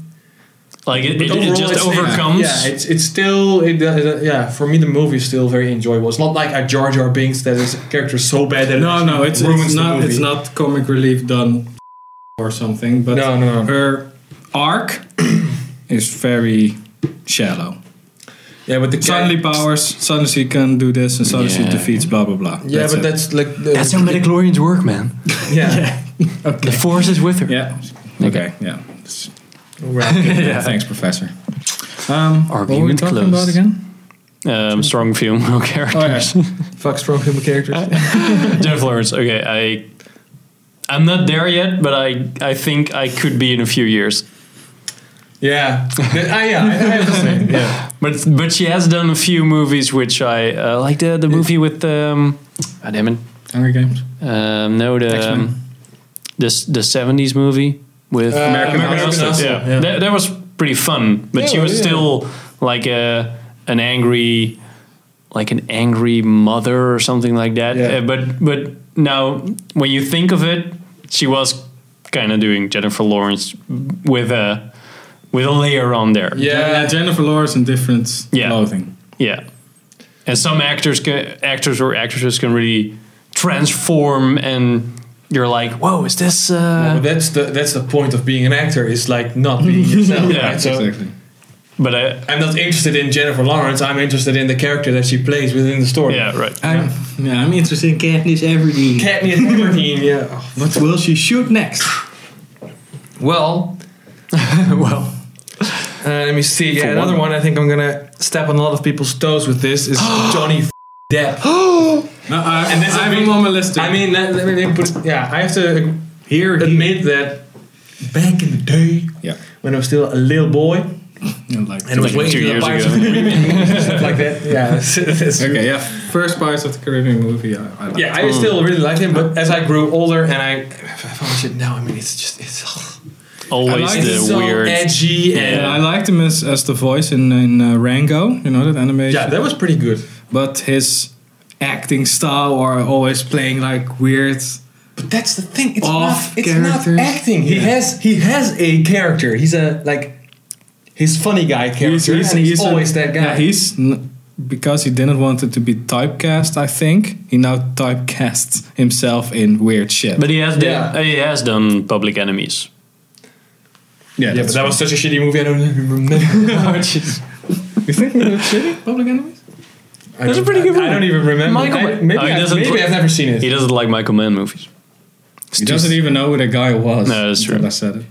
[SPEAKER 1] Like it,
[SPEAKER 4] But
[SPEAKER 1] it,
[SPEAKER 4] overall,
[SPEAKER 1] it just
[SPEAKER 4] it's-
[SPEAKER 1] overcomes.
[SPEAKER 4] Yeah, it's it's still it, uh, it, uh, yeah. For me, the movie is still very enjoyable. It's not like a Jar Jar Binks that is a character so bad that it
[SPEAKER 2] No, no,
[SPEAKER 4] actually
[SPEAKER 2] it's,
[SPEAKER 4] ruins
[SPEAKER 2] it's
[SPEAKER 4] the
[SPEAKER 2] not.
[SPEAKER 4] movie.
[SPEAKER 2] It's not comic relief done or something. But
[SPEAKER 4] No, no, no.
[SPEAKER 2] her arc is very shallow.
[SPEAKER 4] Yeah, but the
[SPEAKER 2] Suddenly powers. Suddenly she can do this, and suddenly she
[SPEAKER 1] Yeah.
[SPEAKER 2] defeats blah blah blah.
[SPEAKER 4] Yeah, but
[SPEAKER 2] it.
[SPEAKER 4] that's like the,
[SPEAKER 1] That's how midichlorians work, man.
[SPEAKER 4] yeah.
[SPEAKER 1] The force is with her.
[SPEAKER 2] yeah. Okay. Yeah.
[SPEAKER 4] Right.
[SPEAKER 2] yeah. Thanks, Professor. Um, what were we
[SPEAKER 1] Argument
[SPEAKER 2] talking
[SPEAKER 1] closed.
[SPEAKER 2] about again?
[SPEAKER 1] Um, strong female character.
[SPEAKER 2] Oh yeah.
[SPEAKER 4] Fuck strong human characters.
[SPEAKER 2] Uh,
[SPEAKER 1] Jennifer Lawrence. Okay, I. I'm not there yet, but I I think I could be in a few years.
[SPEAKER 4] Yeah. Th- ah, yeah. I, I have the same. Yeah.
[SPEAKER 1] But but she has done a few movies which I uh, like the the movie with um, ah, damn it,
[SPEAKER 2] Hunger Games.
[SPEAKER 1] um, no the
[SPEAKER 2] X-Men.
[SPEAKER 1] um, this the seventies movie with
[SPEAKER 4] Uh, American Hustle.
[SPEAKER 1] Yeah,
[SPEAKER 4] Yeah.
[SPEAKER 1] That, that was pretty fun. But she
[SPEAKER 4] Yeah,
[SPEAKER 1] was
[SPEAKER 4] yeah.
[SPEAKER 1] still like a an angry like an angry mother or something like that.
[SPEAKER 4] Yeah.
[SPEAKER 1] Uh, but but now when you think of it, she was kind of doing Jennifer Lawrence with a with a layer on there.
[SPEAKER 4] Yeah.
[SPEAKER 2] Jennifer Lawrence in different
[SPEAKER 1] Yeah.
[SPEAKER 2] clothing.
[SPEAKER 1] Yeah. And some actors can, actors or actresses can really transform and you're like, whoa, is this
[SPEAKER 4] But
[SPEAKER 1] uh
[SPEAKER 4] that's the that's the point of being an actor is like not being yourself.
[SPEAKER 1] Yeah,
[SPEAKER 4] right? So
[SPEAKER 2] exactly.
[SPEAKER 1] but I
[SPEAKER 4] I'm not interested in Jennifer Lawrence. I'm interested in the character that she plays within the story.
[SPEAKER 1] yeah, right.
[SPEAKER 2] I'm, yeah, I'm interested in Katniss Everdeen.
[SPEAKER 4] Katniss Everdeen. Yeah.
[SPEAKER 2] What will she shoot next?
[SPEAKER 4] Well. well. Uh, let me see. Yeah, another one. I think I'm gonna step on a lot of people's toes with this is Johnny F- Depp.
[SPEAKER 2] No, I,
[SPEAKER 4] uh, And this is
[SPEAKER 2] I'm
[SPEAKER 4] me-
[SPEAKER 2] on my list. too.
[SPEAKER 4] I mean, let, let me put. Yeah, I have to
[SPEAKER 2] here, he-
[SPEAKER 4] admit that back in the day,
[SPEAKER 2] yeah,
[SPEAKER 4] when I was still a little boy,
[SPEAKER 2] I like.
[SPEAKER 4] and
[SPEAKER 1] Like
[SPEAKER 4] was waiting
[SPEAKER 1] two
[SPEAKER 4] for the
[SPEAKER 1] years
[SPEAKER 4] Pirates
[SPEAKER 1] ago.
[SPEAKER 4] of the Caribbean stuff like that. Yeah, it's- it's-
[SPEAKER 2] okay, yeah. First Pirates of the Caribbean movie. I, I like.
[SPEAKER 4] yeah. I still really liked him, but as I grew older and I, if I watch it now, I mean, it's just it's,
[SPEAKER 1] Always
[SPEAKER 2] like
[SPEAKER 1] the
[SPEAKER 4] it's so
[SPEAKER 1] weird
[SPEAKER 4] edgy and
[SPEAKER 2] And I
[SPEAKER 4] yeah.
[SPEAKER 2] liked him as, as the voice in in uh, Rango. You know that animation.
[SPEAKER 4] that was pretty good.
[SPEAKER 2] but his acting style or always playing like weird.
[SPEAKER 4] But that's the thing. It's
[SPEAKER 2] Off
[SPEAKER 4] not. It's
[SPEAKER 2] characters.
[SPEAKER 4] not acting. He
[SPEAKER 2] Yeah.
[SPEAKER 4] has he has a character. He's a like. He's funny guy character, and he's,
[SPEAKER 2] a-
[SPEAKER 4] always that guy.
[SPEAKER 2] Yeah, he's n- because he didn't want it to be typecast. I think he now typecasts himself in weird shit.
[SPEAKER 1] But he has
[SPEAKER 4] Yeah.
[SPEAKER 1] done, he has done Public Enemies.
[SPEAKER 2] yeah,
[SPEAKER 4] yeah, but that was such a shitty movie. I don't even remember.
[SPEAKER 2] You think we did shitty Public Enemies?
[SPEAKER 4] That's
[SPEAKER 1] a pretty good
[SPEAKER 4] I
[SPEAKER 1] movie.
[SPEAKER 4] don't even remember.
[SPEAKER 1] Michael-
[SPEAKER 4] I, maybe
[SPEAKER 1] Oh, he
[SPEAKER 4] I,
[SPEAKER 1] doesn't-
[SPEAKER 4] maybe I've never seen it.
[SPEAKER 1] He doesn't like Michael Mann movies.
[SPEAKER 2] He doesn't even know who the guy was.
[SPEAKER 1] No, that's
[SPEAKER 2] until
[SPEAKER 1] true.
[SPEAKER 2] I said it.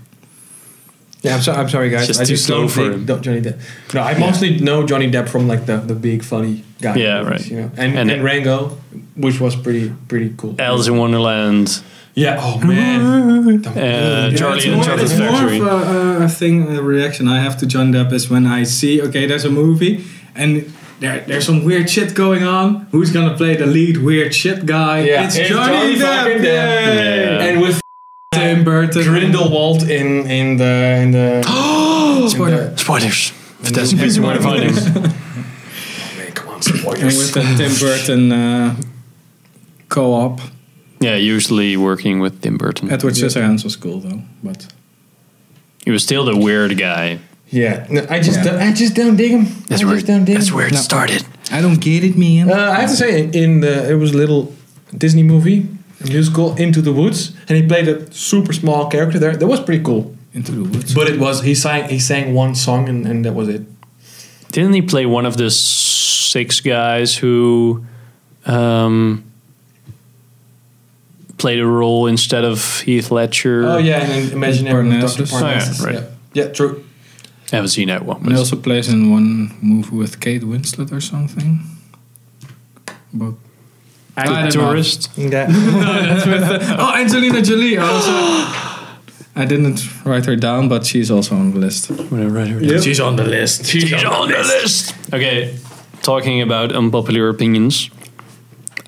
[SPEAKER 4] Yeah, I'm, so, I'm sorry, guys.
[SPEAKER 1] Just
[SPEAKER 4] I
[SPEAKER 1] too
[SPEAKER 4] just
[SPEAKER 1] slow
[SPEAKER 4] don't
[SPEAKER 1] for
[SPEAKER 4] think
[SPEAKER 1] him.
[SPEAKER 4] don't Johnny Depp. No, I mostly know Johnny Depp from like the, the big funny guy.
[SPEAKER 1] Yeah,
[SPEAKER 4] movies,
[SPEAKER 1] right.
[SPEAKER 4] You know, and,
[SPEAKER 1] And-
[SPEAKER 4] and, Rango, which was pretty pretty cool.
[SPEAKER 1] Alice in Wonderland,
[SPEAKER 4] Yeah. Oh man.
[SPEAKER 1] uh, Charlie and the Chocolate
[SPEAKER 2] it's
[SPEAKER 1] Factory.
[SPEAKER 2] more of a, a thing, a reaction I have to John Depp is when I see, okay, there's a movie and there, there's some weird shit going on. Who's gonna play the lead weird shit guy?
[SPEAKER 4] Yeah,
[SPEAKER 2] It's, Johnny, Depp.
[SPEAKER 4] fucking
[SPEAKER 2] yay!
[SPEAKER 1] Yeah.
[SPEAKER 4] And with
[SPEAKER 2] Tim Burton.
[SPEAKER 4] Grindelwald in in the in the.
[SPEAKER 2] Spoiler.
[SPEAKER 1] Spoilers.
[SPEAKER 2] Mm-hmm.
[SPEAKER 1] Fantastic Beasts and Wonder Findings.
[SPEAKER 4] Man, come on,
[SPEAKER 2] And with
[SPEAKER 4] spoilers.
[SPEAKER 2] the Tim Burton uh, co-op.
[SPEAKER 1] Yeah, usually working with Tim Burton.
[SPEAKER 2] Edward Scissorhands was cool though, but
[SPEAKER 1] He was still the weird guy.
[SPEAKER 4] Yeah. No, I just
[SPEAKER 2] Yeah.
[SPEAKER 4] don't- I just don't dig him.
[SPEAKER 1] That's
[SPEAKER 4] I
[SPEAKER 1] where,
[SPEAKER 4] just don't dig.
[SPEAKER 1] that's
[SPEAKER 4] him.
[SPEAKER 1] where it
[SPEAKER 2] No.
[SPEAKER 1] started.
[SPEAKER 2] I don't get it, man.
[SPEAKER 4] Uh, I have to say, in, in the it was a little Disney movie a musical, Into the Woods, and he played a super small character there. That was pretty cool.
[SPEAKER 2] Into the woods.
[SPEAKER 4] But it was he sang he sang one song and, and that was it.
[SPEAKER 1] Didn't he play one of the six guys who um, played a role instead of Heath Ledger?
[SPEAKER 4] Oh yeah, and then Imaginary with Dr.
[SPEAKER 2] Parnassus.
[SPEAKER 4] Parnassus.
[SPEAKER 1] Oh, yeah,
[SPEAKER 4] yeah,
[SPEAKER 1] right.
[SPEAKER 4] yeah. true.
[SPEAKER 1] I haven't seen that one.
[SPEAKER 2] And he
[SPEAKER 1] but-
[SPEAKER 2] also plays in one movie with Kate Winslet or something. But
[SPEAKER 1] The
[SPEAKER 2] I don't know.
[SPEAKER 1] tourist.
[SPEAKER 4] Yeah.
[SPEAKER 2] Oh, Angelina Jolie also. I didn't write her down, but she's also on the list.
[SPEAKER 1] Whatever. right, right.
[SPEAKER 4] She's on the list. She's
[SPEAKER 1] She's on the list. Okay, talking about unpopular opinions.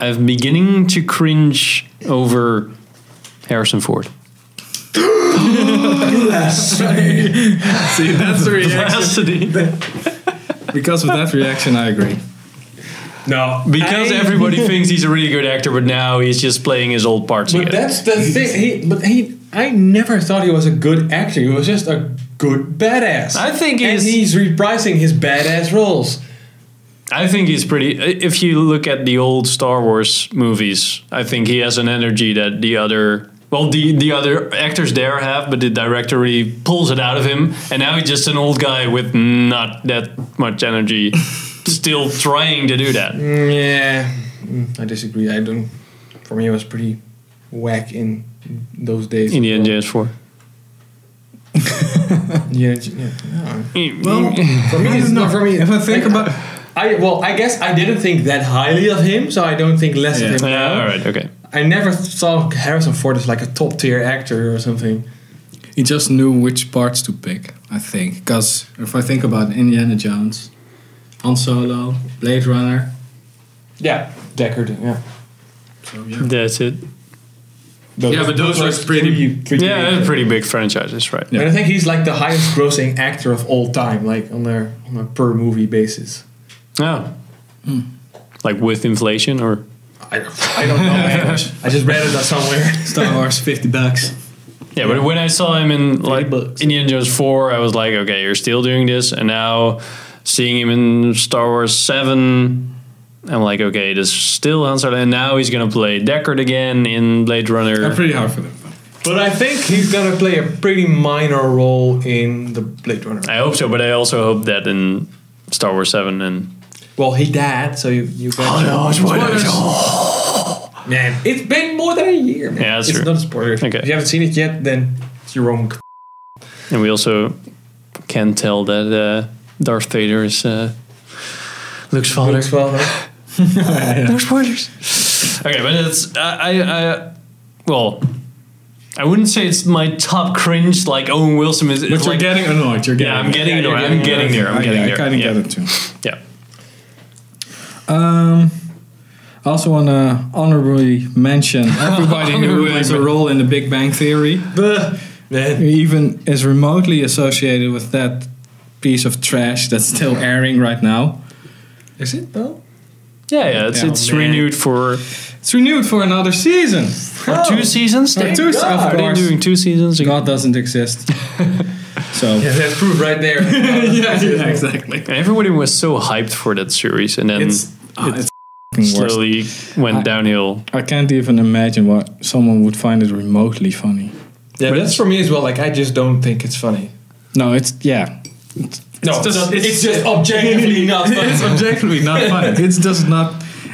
[SPEAKER 1] I'm beginning to cringe over Harrison Ford.
[SPEAKER 2] See, that's the reaction. because of that reaction, I agree.
[SPEAKER 4] No,
[SPEAKER 1] Because
[SPEAKER 4] I-
[SPEAKER 1] everybody thinks he's a really good actor, but now he's just playing his old parts
[SPEAKER 4] But
[SPEAKER 1] again.
[SPEAKER 4] that's the thing. He, but he, I never thought he was a good actor. He was just a good badass.
[SPEAKER 1] I think
[SPEAKER 4] and
[SPEAKER 1] he's-
[SPEAKER 4] he's reprising his badass roles.
[SPEAKER 1] I think he's pretty. If you look at the old Star Wars movies, I think he has an energy that the other. Well, the, the other actors there have, but the director really pulls it out of him. And now he's just an old guy with not that much energy, still trying to do that.
[SPEAKER 4] Yeah, mm, I disagree. I don't. For me, it was pretty whack in those days.
[SPEAKER 1] Indiana Jones 4.
[SPEAKER 4] Yeah, yeah. no.
[SPEAKER 1] Well,
[SPEAKER 4] For me, it's not for me.
[SPEAKER 2] If I think
[SPEAKER 4] like,
[SPEAKER 2] about,
[SPEAKER 4] I well, I guess I didn't think that highly of him, so I don't think less
[SPEAKER 2] Yeah.
[SPEAKER 4] of him. now.
[SPEAKER 1] all right, okay.
[SPEAKER 4] I never saw Harrison Ford as like a top tier actor or something.
[SPEAKER 2] he just knew which parts to pick. I think because if I think about Indiana Jones, Han Solo, Blade Runner,
[SPEAKER 4] Yeah, Deckard. Yeah.
[SPEAKER 2] so yeah.
[SPEAKER 1] That's it.
[SPEAKER 4] yeah,
[SPEAKER 2] but those were pretty-
[SPEAKER 4] pretty
[SPEAKER 1] Yeah,
[SPEAKER 4] big.
[SPEAKER 1] that's pretty big franchises, right?
[SPEAKER 4] And I think he's like the highest grossing actor of all time, like on their on a per movie basis.
[SPEAKER 1] Oh. Like with inflation or
[SPEAKER 4] I, I don't know. man. I just read it somewhere.
[SPEAKER 2] Star Wars, fifty bucks.
[SPEAKER 1] yeah, but when I saw him in like
[SPEAKER 4] bucks.
[SPEAKER 1] Indiana Jones four, I was like, okay, you're still doing this, and now seeing him in Star Wars seven, I'm like, okay, this is still Han Solo, and now he's gonna play Deckard again in Blade
[SPEAKER 2] They're
[SPEAKER 1] Runner.
[SPEAKER 2] pretty hard for them. but-
[SPEAKER 4] But I think he's gonna play a pretty minor role in the Blade Runner.
[SPEAKER 1] I hope so, but I also hope that in Star Wars seven and
[SPEAKER 4] Well, he died, so you you got. Oh. Man, it's been more than a year. Man.
[SPEAKER 1] Yeah, that's
[SPEAKER 4] it's
[SPEAKER 1] true.
[SPEAKER 4] not a spoiler.
[SPEAKER 1] Okay.
[SPEAKER 4] If you haven't seen it yet, then you're wrong.
[SPEAKER 1] and we also can tell that uh, Darth Vader is uh, Luke's father.
[SPEAKER 4] Luke's father.
[SPEAKER 1] No spoilers. Okay, but it's I I, I well. I wouldn't say it's my top cringe like Owen Wilson is.
[SPEAKER 2] But
[SPEAKER 1] It's
[SPEAKER 2] you're
[SPEAKER 1] like,
[SPEAKER 2] getting annoyed. You're getting.
[SPEAKER 1] yeah, I'm getting
[SPEAKER 4] yeah,
[SPEAKER 1] there.
[SPEAKER 4] you're
[SPEAKER 1] I'm getting
[SPEAKER 4] getting
[SPEAKER 1] there. I'm
[SPEAKER 2] I-
[SPEAKER 1] getting
[SPEAKER 2] I,
[SPEAKER 1] there.
[SPEAKER 2] kind of
[SPEAKER 1] yeah.
[SPEAKER 2] get it too.
[SPEAKER 1] Yeah.
[SPEAKER 2] Um, I also want to honorably mention everybody who has a role in The Big Bang Theory,
[SPEAKER 4] Bleh. Man.
[SPEAKER 2] who even is remotely associated with that piece of trash that's still airing right now.
[SPEAKER 4] Is it though?
[SPEAKER 1] Yeah, yeah. It's
[SPEAKER 2] Yeah,
[SPEAKER 1] it's
[SPEAKER 2] man.
[SPEAKER 1] renewed for
[SPEAKER 2] It's renewed for another season.
[SPEAKER 1] for two seasons.
[SPEAKER 2] Oh. For
[SPEAKER 1] They-
[SPEAKER 2] two, se-
[SPEAKER 1] Are
[SPEAKER 2] of
[SPEAKER 1] they
[SPEAKER 2] course.
[SPEAKER 1] doing two seasons? again?
[SPEAKER 2] God doesn't exist. so
[SPEAKER 4] Yeah, that's proof right there.
[SPEAKER 2] yeah, yeah, exactly.
[SPEAKER 1] And Everybody was so hyped for that series, and then
[SPEAKER 2] It's, ah, it's f***ing worse.
[SPEAKER 1] slowly went downhill.
[SPEAKER 2] I can't even imagine what someone would find it remotely funny.
[SPEAKER 4] Yeah, but that's for me as well. Like, I just don't think it's funny.
[SPEAKER 2] No, it's yeah.
[SPEAKER 4] No, it's just, it's, just objectively not
[SPEAKER 2] it's
[SPEAKER 4] funny.
[SPEAKER 2] objectively not funny. It's just not.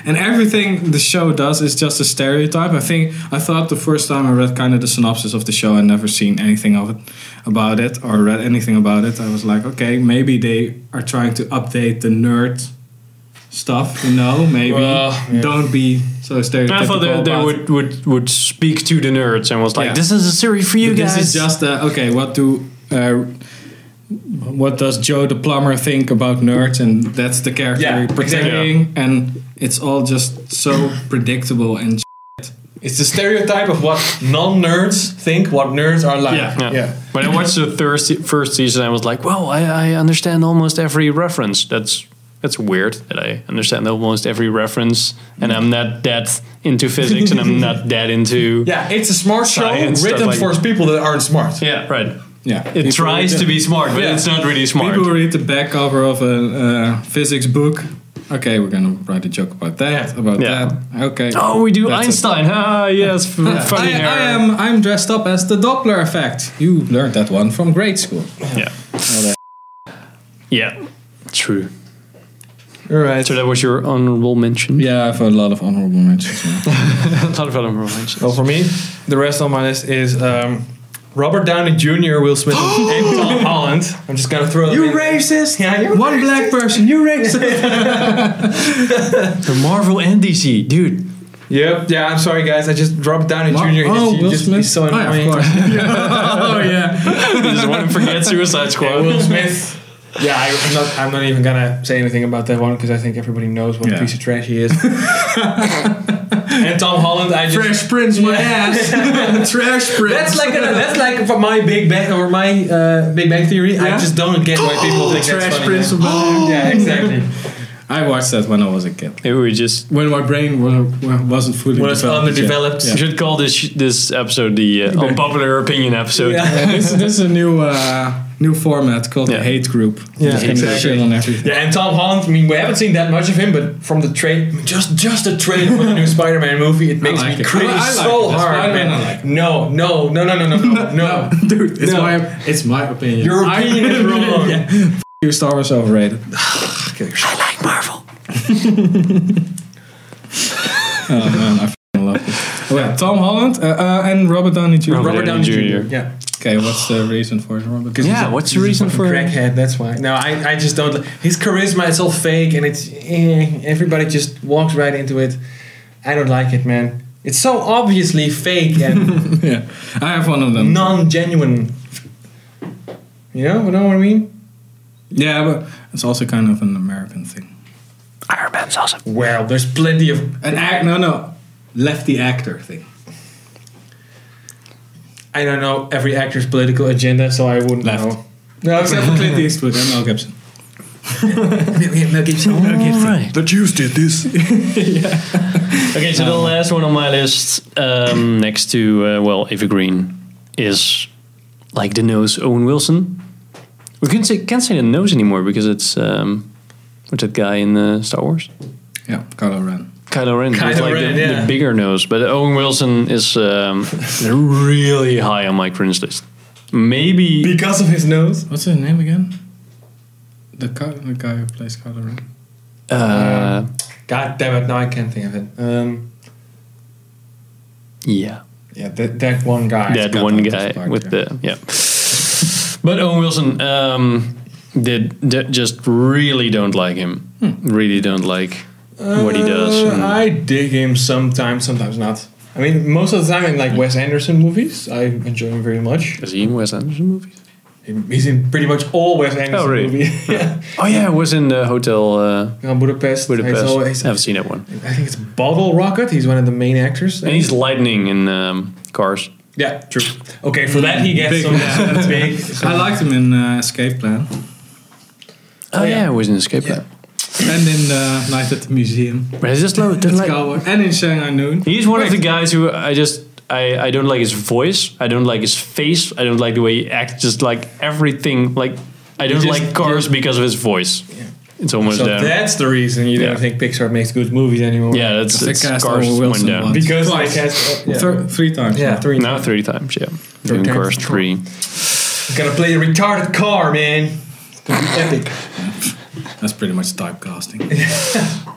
[SPEAKER 2] And everything the show does is just a stereotype. I think I thought the first time I read kind of the synopsis of the show and never seen anything of it about it or read anything about it. I was like, okay, maybe they are trying to update the nerd stuff. You know, maybe
[SPEAKER 4] Well, yeah.
[SPEAKER 2] don't be so stereotypical.
[SPEAKER 1] I thought they, they
[SPEAKER 2] about
[SPEAKER 1] would, would would speak to the nerds and was like,
[SPEAKER 2] Yeah.
[SPEAKER 1] "This is a series for you
[SPEAKER 2] But
[SPEAKER 1] guys."
[SPEAKER 2] This is just uh, okay. What do uh, what does Joe the plumber think about nerds? And that's the character
[SPEAKER 4] Yeah,
[SPEAKER 2] you're portraying, and it's all just so predictable and.
[SPEAKER 4] It's the stereotype of what non-nerds think, what nerds are like.
[SPEAKER 2] Yeah.
[SPEAKER 1] Yeah. When I watched the first first season, I was like, "Whoa, I, I understand almost every reference." That's that's weird that I understand almost every reference, and I'm not that into physics, and I'm not that into
[SPEAKER 4] Yeah, it's a smart show
[SPEAKER 1] Science, stuff
[SPEAKER 4] written
[SPEAKER 1] like-
[SPEAKER 4] for people that aren't smart.
[SPEAKER 1] yeah, right.
[SPEAKER 2] Yeah,
[SPEAKER 1] It tries to be smart, but
[SPEAKER 4] Yeah.
[SPEAKER 1] it's not really smart.
[SPEAKER 2] People read the back cover of a uh, physics book. Okay, we're gonna write a joke about that.
[SPEAKER 4] Yeah.
[SPEAKER 2] About
[SPEAKER 1] Yeah.
[SPEAKER 2] that. Okay.
[SPEAKER 1] oh, we do
[SPEAKER 2] that's it.
[SPEAKER 1] Einstein. Ah, yes, f- funny
[SPEAKER 2] I,
[SPEAKER 1] hair.
[SPEAKER 2] I am. I'm dressed up as the Doppler effect. You learned that one from grade school.
[SPEAKER 1] Yeah. Yeah. True.
[SPEAKER 4] All right.
[SPEAKER 1] So that was your honorable mention.
[SPEAKER 2] Yeah, I have a lot of honorable mentions.
[SPEAKER 1] A lot of honorable mentions.
[SPEAKER 4] Well, for me, the rest on my list is um, Robert Downey Jr., Will Smith, and Tom Holland. I'm just gonna throw them in.
[SPEAKER 2] racist!
[SPEAKER 4] Yeah, you're
[SPEAKER 2] One black person, you racist!
[SPEAKER 1] The Marvel and DC, dude.
[SPEAKER 4] Yep. Yeah. I'm sorry, guys. I just Robert Downey
[SPEAKER 2] Mar-
[SPEAKER 4] Jr.
[SPEAKER 2] oh,
[SPEAKER 4] he's
[SPEAKER 2] Will
[SPEAKER 4] just,
[SPEAKER 2] Smith.
[SPEAKER 4] He's so
[SPEAKER 2] Oh, yeah, of
[SPEAKER 4] annoying.
[SPEAKER 2] course. oh yeah.
[SPEAKER 1] Just want to forget Suicide Squad.
[SPEAKER 4] And Will Smith. Yeah, I, I'm not. I'm not even gonna say anything about that one because I think everybody knows what
[SPEAKER 2] Yeah.
[SPEAKER 4] a piece of trash he is. and Tom Holland, I just
[SPEAKER 2] Fresh Prince, my ass. Trash Prince.
[SPEAKER 4] that's like a, that's like for my Big Bang or my uh, Big Bang Theory. I
[SPEAKER 2] Yeah?
[SPEAKER 4] just don't get why people think that's
[SPEAKER 2] Trash
[SPEAKER 4] funny. Oh,
[SPEAKER 2] Prince of
[SPEAKER 4] yeah, exactly.
[SPEAKER 2] I watched that when I was a kid.
[SPEAKER 1] Maybe we just
[SPEAKER 2] When my brain wa- wa- wasn't fully
[SPEAKER 4] When it's
[SPEAKER 2] developed yet.
[SPEAKER 4] underdeveloped.
[SPEAKER 1] we should call this sh- this episode the uh, unpopular opinion episode.
[SPEAKER 4] Yeah.
[SPEAKER 2] Yeah, this, this is a new uh, new format called the
[SPEAKER 1] Yeah.
[SPEAKER 2] hate group.
[SPEAKER 4] Yeah,
[SPEAKER 2] Just gonna
[SPEAKER 4] exactly.
[SPEAKER 2] shit on everything.
[SPEAKER 4] Yeah, and Tom Holland. I mean, we haven't seen that much of him, but from the trade, just just the trailer for the new Spider-Man movie, it makes
[SPEAKER 2] like
[SPEAKER 4] me
[SPEAKER 2] it.
[SPEAKER 4] cringe
[SPEAKER 2] I like
[SPEAKER 4] so
[SPEAKER 2] it. The
[SPEAKER 4] hard,
[SPEAKER 2] Spider-Man, I like
[SPEAKER 4] man. No, no, no, no, no, no, no, no.
[SPEAKER 2] Dude, it's
[SPEAKER 4] No.
[SPEAKER 2] my it's my opinion.
[SPEAKER 4] Your
[SPEAKER 2] I-
[SPEAKER 4] opinion is wrong.
[SPEAKER 2] Yeah. F- you, Star Wars overrated. I like Marvel. oh man, I f***ing love this. Well, Tom Holland uh, uh, and Robert Downey Jr.
[SPEAKER 1] Robert Downey Jr..
[SPEAKER 4] Yeah,
[SPEAKER 2] Okay, what's the reason for it, Robert? 'Cause he's
[SPEAKER 1] Yeah,
[SPEAKER 2] a-
[SPEAKER 1] what's the reason for?
[SPEAKER 4] crackhead. That's why. No, I, I just don't. li- His charisma is all fake, and it's eh, everybody just walks right into it. I don't like it, man. It's so obviously fake and
[SPEAKER 2] yeah, I have one of them.
[SPEAKER 4] non-genuine. You know, you know what I mean?
[SPEAKER 2] Yeah, but it's also kind of an American thing.
[SPEAKER 1] Iron Man's awesome.
[SPEAKER 4] Well, there's plenty of
[SPEAKER 2] An act? No, no, lefty actor thing.
[SPEAKER 4] I don't know every actor's political agenda, so I wouldn't
[SPEAKER 2] Left.
[SPEAKER 4] know. No,
[SPEAKER 2] Except for Clint Eastwood and Mel Gibson.
[SPEAKER 1] All right.
[SPEAKER 3] The Jews did this.
[SPEAKER 1] Okay, so the last one on my list, um, next to uh, well, Ava Green, is like the nose Owen Wilson. We can say can't say the nose anymore because it's um, what's that guy in uh, Star Wars?
[SPEAKER 2] Yeah, Kylo Ren.
[SPEAKER 1] Kylo Ren,
[SPEAKER 4] Kylo
[SPEAKER 1] with, like
[SPEAKER 4] Ren,
[SPEAKER 1] the,
[SPEAKER 4] yeah.
[SPEAKER 1] the bigger nose, but Owen Wilson is um, really high on my cringe list. Maybe
[SPEAKER 4] because of his nose.
[SPEAKER 2] What's his name again? The guy, the guy who plays Kylo Ren.
[SPEAKER 1] uh,
[SPEAKER 4] God damn it! Now I can't think of it. Um,
[SPEAKER 1] yeah,
[SPEAKER 4] yeah, that, that one guy.
[SPEAKER 1] that
[SPEAKER 2] got
[SPEAKER 1] one
[SPEAKER 2] that
[SPEAKER 1] guy
[SPEAKER 2] spark,
[SPEAKER 1] with
[SPEAKER 2] yeah.
[SPEAKER 1] the yeah. But Owen Wilson um, did, did- just really don't like him. Really don't like what he does. Hmm.
[SPEAKER 4] Uh,
[SPEAKER 1] and-
[SPEAKER 4] I dig him sometimes, sometimes not. I mean, most of the time in like Wes Anderson movies, I enjoy him very much.
[SPEAKER 1] is he in Wes Anderson movies?
[SPEAKER 4] He's in pretty much all Wes Anderson
[SPEAKER 1] really?
[SPEAKER 4] movies. yeah,
[SPEAKER 1] Oh yeah, it was in the hotel uh,
[SPEAKER 4] Uh, Budapest.
[SPEAKER 1] Budapest.
[SPEAKER 4] He's
[SPEAKER 1] I
[SPEAKER 4] always,
[SPEAKER 1] haven't seen that one.
[SPEAKER 4] I think it's Bottle Rocket. He's one of the main actors.
[SPEAKER 1] And he's lightning in um, Cars.
[SPEAKER 4] yeah, true. Okay, for that he gets
[SPEAKER 2] Big.
[SPEAKER 4] some big.
[SPEAKER 2] I liked him in uh, Escape Plan
[SPEAKER 1] Oh,
[SPEAKER 4] yeah.
[SPEAKER 1] yeah. it was in Escape Plan.
[SPEAKER 2] and in uh, Night at the Museum.
[SPEAKER 1] But I just love didn't like
[SPEAKER 2] Cowboy. And in Shanghai Noon.
[SPEAKER 1] He's one of the
[SPEAKER 2] Wait.
[SPEAKER 1] guys who I just I, I don't like his voice. I don't like his face. I don't like the way he acts. Just like everything. Like I don't
[SPEAKER 4] just-
[SPEAKER 1] like cars because of his voice. It's almost
[SPEAKER 4] So
[SPEAKER 1] down.
[SPEAKER 4] that's the reason you don't
[SPEAKER 1] Yeah.
[SPEAKER 4] think Pixar makes good movies anymore.
[SPEAKER 1] yeah, that's
[SPEAKER 2] They
[SPEAKER 1] it's
[SPEAKER 2] cast
[SPEAKER 1] cars
[SPEAKER 2] Owen
[SPEAKER 1] went
[SPEAKER 2] Wilson
[SPEAKER 1] down.
[SPEAKER 2] once.
[SPEAKER 4] because like
[SPEAKER 2] Twice.
[SPEAKER 4] has, yeah,
[SPEAKER 2] Thir- three times.
[SPEAKER 4] yeah, three.
[SPEAKER 1] Now three times. Yeah, doing
[SPEAKER 4] times.
[SPEAKER 1] cars three.
[SPEAKER 4] Gonna play a retarded car, man. It's gonna be epic.
[SPEAKER 2] That's pretty much typecasting.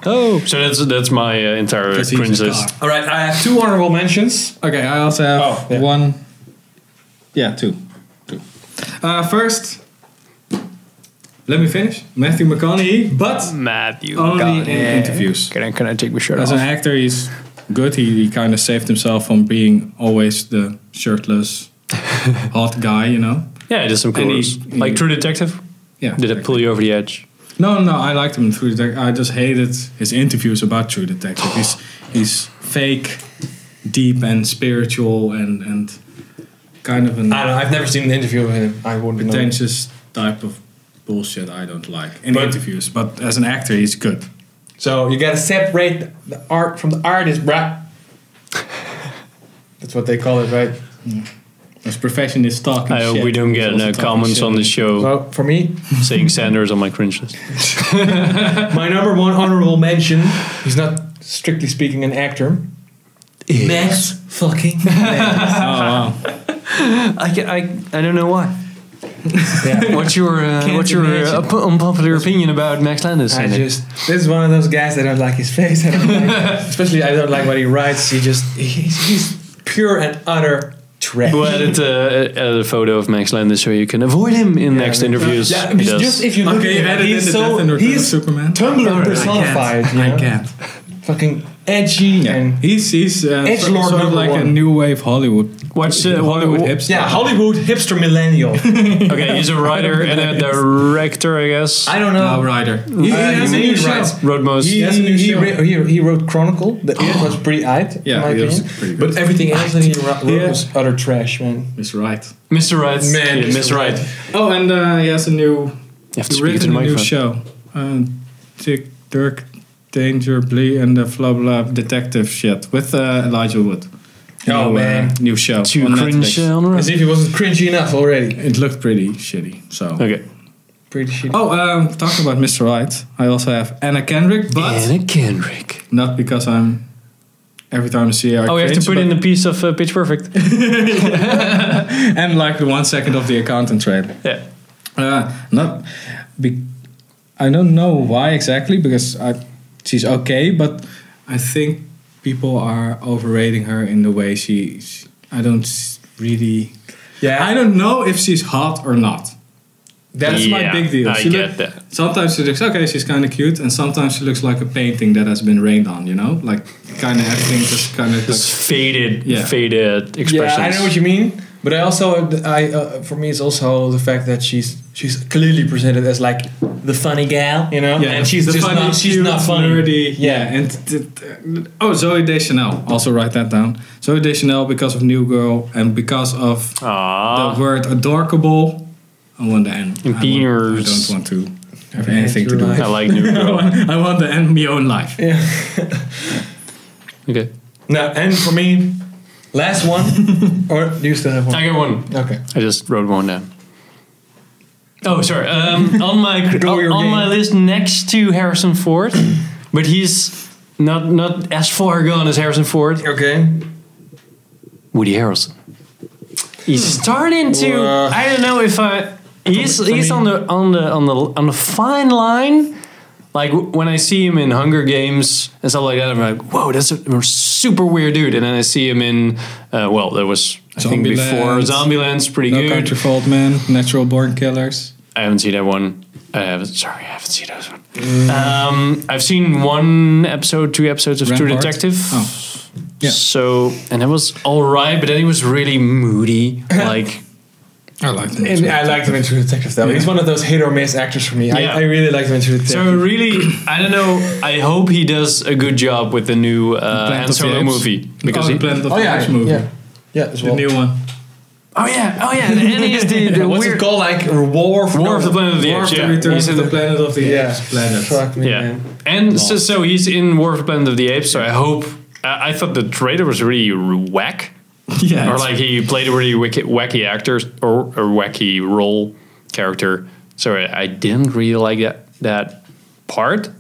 [SPEAKER 1] Oh, so that's that's my uh, entire
[SPEAKER 2] Because he's
[SPEAKER 1] cringe
[SPEAKER 2] a
[SPEAKER 1] list.
[SPEAKER 2] car.
[SPEAKER 4] All right, I have two honorable mentions.
[SPEAKER 2] Okay, I also have
[SPEAKER 4] Oh, yeah.
[SPEAKER 2] one. Yeah, two. Two. Uh, first, let me finish. Matthew McConaughey, but
[SPEAKER 1] Oh, Matthew.
[SPEAKER 2] only in
[SPEAKER 1] McConaughey.
[SPEAKER 2] interviews.
[SPEAKER 1] Can I, can I take my shirt
[SPEAKER 2] Oh, As
[SPEAKER 1] off?
[SPEAKER 2] an actor, he's good. He, he kind of saved himself from being always the shirtless, hot guy, you know?
[SPEAKER 1] yeah, just some cool.
[SPEAKER 2] And he-
[SPEAKER 1] roles. like
[SPEAKER 2] he-
[SPEAKER 1] True Detective.
[SPEAKER 2] Yeah.
[SPEAKER 1] Did it pull you over the edge?
[SPEAKER 2] No, no, I liked him in True Detective. I just hated his interviews about True Detective. He's, he's fake, deep, and spiritual, and, and kind of an
[SPEAKER 4] I don't know, I've never seen an interview with him. I wouldn't know.
[SPEAKER 2] pretentious type of bullshit I don't like in
[SPEAKER 4] But-
[SPEAKER 2] interviews. But as an actor, he's good.
[SPEAKER 4] So you gotta separate the art from the artist, bruh. That's what they call it, right?
[SPEAKER 2] As professionist talking
[SPEAKER 1] I
[SPEAKER 2] Oh, shit.
[SPEAKER 1] hope we don't
[SPEAKER 2] he's
[SPEAKER 1] get
[SPEAKER 2] also
[SPEAKER 1] uh,
[SPEAKER 2] talking
[SPEAKER 1] comments
[SPEAKER 2] shit. Oh.
[SPEAKER 1] on the show
[SPEAKER 4] So for me,
[SPEAKER 1] saying Sanders on my cringe list.
[SPEAKER 4] my number one honorable mention. He's not strictly speaking an actor. Max fucking.
[SPEAKER 1] I, ca- I, I don't know why.
[SPEAKER 4] Yeah.
[SPEAKER 1] What's your uh,
[SPEAKER 4] Can't
[SPEAKER 1] what's your
[SPEAKER 4] imagine.
[SPEAKER 1] uh, up- unpopular opinion about Max Landis?
[SPEAKER 4] I
[SPEAKER 1] Henrik?
[SPEAKER 4] just this is one of those guys I don't like his face. I don't like, especially I don't like what he writes. He just he's, he's pure and utter trash.
[SPEAKER 1] well, it's a, a, a photo of Max Landis, so you can avoid him in next interviews.
[SPEAKER 4] Yeah,
[SPEAKER 1] He
[SPEAKER 4] just,
[SPEAKER 1] does.
[SPEAKER 4] just if you look
[SPEAKER 2] Okay, you
[SPEAKER 4] at
[SPEAKER 2] had
[SPEAKER 4] him,
[SPEAKER 2] it in
[SPEAKER 4] he's
[SPEAKER 2] the
[SPEAKER 4] so
[SPEAKER 2] Death and Return of
[SPEAKER 4] he's
[SPEAKER 2] Superman.
[SPEAKER 4] Tumblr
[SPEAKER 1] Alright, I
[SPEAKER 4] personified. you know?
[SPEAKER 2] I can't.
[SPEAKER 4] Fucking edgy
[SPEAKER 2] Yeah,
[SPEAKER 4] and
[SPEAKER 2] he's he's uh,
[SPEAKER 4] Edgelord
[SPEAKER 2] sort of
[SPEAKER 4] number
[SPEAKER 2] like a
[SPEAKER 4] one.
[SPEAKER 2] new wave Hollywood
[SPEAKER 1] What's uh,
[SPEAKER 6] Oh.
[SPEAKER 1] Hollywood hipster?
[SPEAKER 4] Yeah, Hollywood hipster millennial.
[SPEAKER 1] Okay, he's a writer and a director, I guess.
[SPEAKER 4] I don't know.
[SPEAKER 6] No, Ryder.
[SPEAKER 4] He,
[SPEAKER 6] Uh,
[SPEAKER 4] has a
[SPEAKER 6] you
[SPEAKER 4] new
[SPEAKER 6] need
[SPEAKER 4] show.
[SPEAKER 6] rights.
[SPEAKER 1] Wrote most.
[SPEAKER 4] He,
[SPEAKER 6] has a new
[SPEAKER 4] he,
[SPEAKER 6] show.
[SPEAKER 4] re- he, he wrote Chronicle. That was pretty aight,
[SPEAKER 6] Yeah,
[SPEAKER 4] in my
[SPEAKER 6] it was
[SPEAKER 4] opinion.
[SPEAKER 6] pretty good.
[SPEAKER 4] But everything else that he ro- wrote
[SPEAKER 6] Yeah.
[SPEAKER 4] was utter trash, man.
[SPEAKER 6] Miss Wright.
[SPEAKER 1] Mr. Right.
[SPEAKER 4] Man,
[SPEAKER 1] Yeah,
[SPEAKER 4] Mr.
[SPEAKER 1] Mr. Right.
[SPEAKER 4] Right.
[SPEAKER 1] You
[SPEAKER 6] Oh, and uh, he has a new
[SPEAKER 1] have to
[SPEAKER 6] He's
[SPEAKER 1] speak to
[SPEAKER 6] written
[SPEAKER 1] the
[SPEAKER 6] a new
[SPEAKER 1] microphone.
[SPEAKER 6] show, uh, Dick Dirk Danger Blee and the Flub Flub Detective shit with uh, Elijah Wood.
[SPEAKER 4] Oh,
[SPEAKER 6] new, uh,
[SPEAKER 4] man.
[SPEAKER 6] new show
[SPEAKER 1] Too
[SPEAKER 6] on
[SPEAKER 1] cringe uh,
[SPEAKER 6] Netflix.
[SPEAKER 1] on
[SPEAKER 4] As
[SPEAKER 1] right.
[SPEAKER 4] if he wasn't cringy enough already.
[SPEAKER 6] It looked pretty shitty. So.
[SPEAKER 1] Okay.
[SPEAKER 4] Pretty shit.
[SPEAKER 6] Oh, um, talking about Mr. Right, I also have Anna Kendrick, but
[SPEAKER 1] Anna Kendrick.
[SPEAKER 6] not because I'm. Every time I see her, I
[SPEAKER 1] Oh, we have to
[SPEAKER 6] cringe,
[SPEAKER 1] put
[SPEAKER 6] but-
[SPEAKER 1] in a piece of uh, Pitch Perfect.
[SPEAKER 6] and like the one second of the accountant trailer.
[SPEAKER 1] yeah.
[SPEAKER 6] Uh, not, be, I don't know why exactly because I, she's okay, but I think people are overrating her in the way she. she- I don't s- really.
[SPEAKER 4] yeah,
[SPEAKER 6] I don't know if she's hot or not. That's my
[SPEAKER 1] Yeah,
[SPEAKER 6] big deal.
[SPEAKER 1] I
[SPEAKER 6] She
[SPEAKER 1] get that.
[SPEAKER 6] Sometimes she looks okay, she's kind of cute, and sometimes she looks like a painting that has been rained on. You know, like kind of everything just kind of. Like,
[SPEAKER 1] Just faded,
[SPEAKER 6] Yeah.
[SPEAKER 1] faded expressions.
[SPEAKER 4] Yeah, I know what you mean. But I also, I uh, for me, it's also the fact that she's she's clearly presented as like the funny gal, you know,
[SPEAKER 6] yeah,
[SPEAKER 4] and she's
[SPEAKER 6] the
[SPEAKER 4] just
[SPEAKER 6] funny,
[SPEAKER 4] not she's
[SPEAKER 6] cute,
[SPEAKER 4] not funny.
[SPEAKER 6] nerdy. Yeah,
[SPEAKER 4] Yeah.
[SPEAKER 6] and t- t- oh, Zoe Deschanel. Also write that down. Zoe Deschanel because of New Girl and because of
[SPEAKER 1] Aww.
[SPEAKER 6] the word adorkable. I want the end. I, want- I
[SPEAKER 1] Beers.
[SPEAKER 6] don't want to have anything to do. with
[SPEAKER 1] I like New
[SPEAKER 6] I
[SPEAKER 1] Girl.
[SPEAKER 6] want- I want the end of my own life.
[SPEAKER 1] okay.
[SPEAKER 4] No, and for me, last one, or do you still have one?
[SPEAKER 1] I got one.
[SPEAKER 4] Okay.
[SPEAKER 1] I just wrote one down. Oh, sorry. Um, on my
[SPEAKER 4] Go
[SPEAKER 1] on,
[SPEAKER 4] your
[SPEAKER 1] on
[SPEAKER 4] game.
[SPEAKER 1] my list next to Harrison Ford, but he's not not as far gone as Harrison Ford.
[SPEAKER 4] Okay.
[SPEAKER 1] Woody Harrelson. He's starting to.
[SPEAKER 4] Uh,
[SPEAKER 1] I don't know if I. He's
[SPEAKER 4] for
[SPEAKER 1] he's
[SPEAKER 4] me-
[SPEAKER 1] on the on the on the on the fine line. Like w- when I see him in Hunger Games and stuff like that, I'm like, whoa, that's a super weird dude. And then I see him in, uh, well, that was I think before
[SPEAKER 6] Zombieland.
[SPEAKER 1] Zombieland's pretty
[SPEAKER 6] No
[SPEAKER 1] good.
[SPEAKER 6] country for old men. Natural born killers.
[SPEAKER 1] I haven't seen that one. I haven't. Sorry, I haven't seen those one. Um, I've seen one episode, two episodes of True
[SPEAKER 6] Rampart.
[SPEAKER 1] Detective.
[SPEAKER 6] Oh, yeah.
[SPEAKER 1] So and that was all right, but then he was really moody. Like
[SPEAKER 6] I like that.
[SPEAKER 4] And I liked him in True Detective though. He's one of those hit or miss actors for me.
[SPEAKER 1] Yeah.
[SPEAKER 4] I, I really liked him in True Detective.
[SPEAKER 1] so, really, I don't know. I hope he does a good job with the new uh,
[SPEAKER 6] Planet
[SPEAKER 1] Han
[SPEAKER 6] of the
[SPEAKER 1] Solo
[SPEAKER 6] Apes.
[SPEAKER 1] movie because
[SPEAKER 6] oh,
[SPEAKER 1] he,
[SPEAKER 6] the Planet of
[SPEAKER 4] oh
[SPEAKER 6] the
[SPEAKER 4] yeah,
[SPEAKER 6] Apes movie.
[SPEAKER 4] yeah, yeah, as
[SPEAKER 6] The
[SPEAKER 4] well.
[SPEAKER 6] new one.
[SPEAKER 1] oh yeah, oh yeah, and he is the, the
[SPEAKER 4] What's
[SPEAKER 1] weird-
[SPEAKER 4] it called? Like War of,
[SPEAKER 1] War of the Planet of the
[SPEAKER 6] War of
[SPEAKER 1] Apes.
[SPEAKER 6] the
[SPEAKER 1] Yeah,
[SPEAKER 6] Return
[SPEAKER 1] He's
[SPEAKER 6] of
[SPEAKER 1] in
[SPEAKER 6] the
[SPEAKER 1] the-
[SPEAKER 6] Planet of the
[SPEAKER 4] Yeah.
[SPEAKER 6] Apes. Planet.
[SPEAKER 4] Fuck me,
[SPEAKER 1] yeah.
[SPEAKER 4] man.
[SPEAKER 1] And so, so he's in War of the Planet of the Apes. So I hope. I I thought the trailer was really whack.
[SPEAKER 6] Yeah.
[SPEAKER 1] or
[SPEAKER 6] it's-
[SPEAKER 1] like he played a really wicked, wacky actor or a wacky role character. So I, I didn't really like that that part.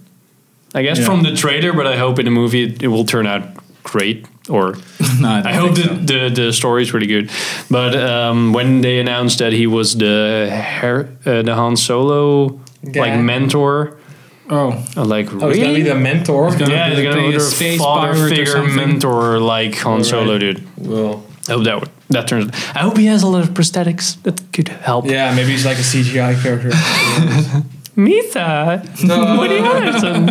[SPEAKER 1] I guess
[SPEAKER 6] Yeah.
[SPEAKER 1] from the trailer, but I hope in the movie it, it will turn out great. Or
[SPEAKER 6] No, I, don't
[SPEAKER 1] I hope
[SPEAKER 6] think
[SPEAKER 1] the,
[SPEAKER 6] so.
[SPEAKER 1] the the story is really good. But um, when they announced that he was the Her- uh, the Han Solo
[SPEAKER 4] Yeah.
[SPEAKER 1] like mentor,
[SPEAKER 6] Oh,
[SPEAKER 1] I'm like
[SPEAKER 4] Oh, he's gonna be
[SPEAKER 1] really?
[SPEAKER 4] the mentor.
[SPEAKER 6] gonna
[SPEAKER 1] yeah,
[SPEAKER 6] be
[SPEAKER 1] he's gonna
[SPEAKER 6] a
[SPEAKER 1] be a
[SPEAKER 6] space
[SPEAKER 1] father
[SPEAKER 6] pirate or
[SPEAKER 1] figure
[SPEAKER 6] something.
[SPEAKER 1] mentor like Han Solo, dude.
[SPEAKER 4] Well,
[SPEAKER 1] I hope that would, that turns. I hope he has a lot of prosthetics that could help.
[SPEAKER 4] yeah, maybe he's like a CGI character.
[SPEAKER 1] Mitha, Woody Harrelson.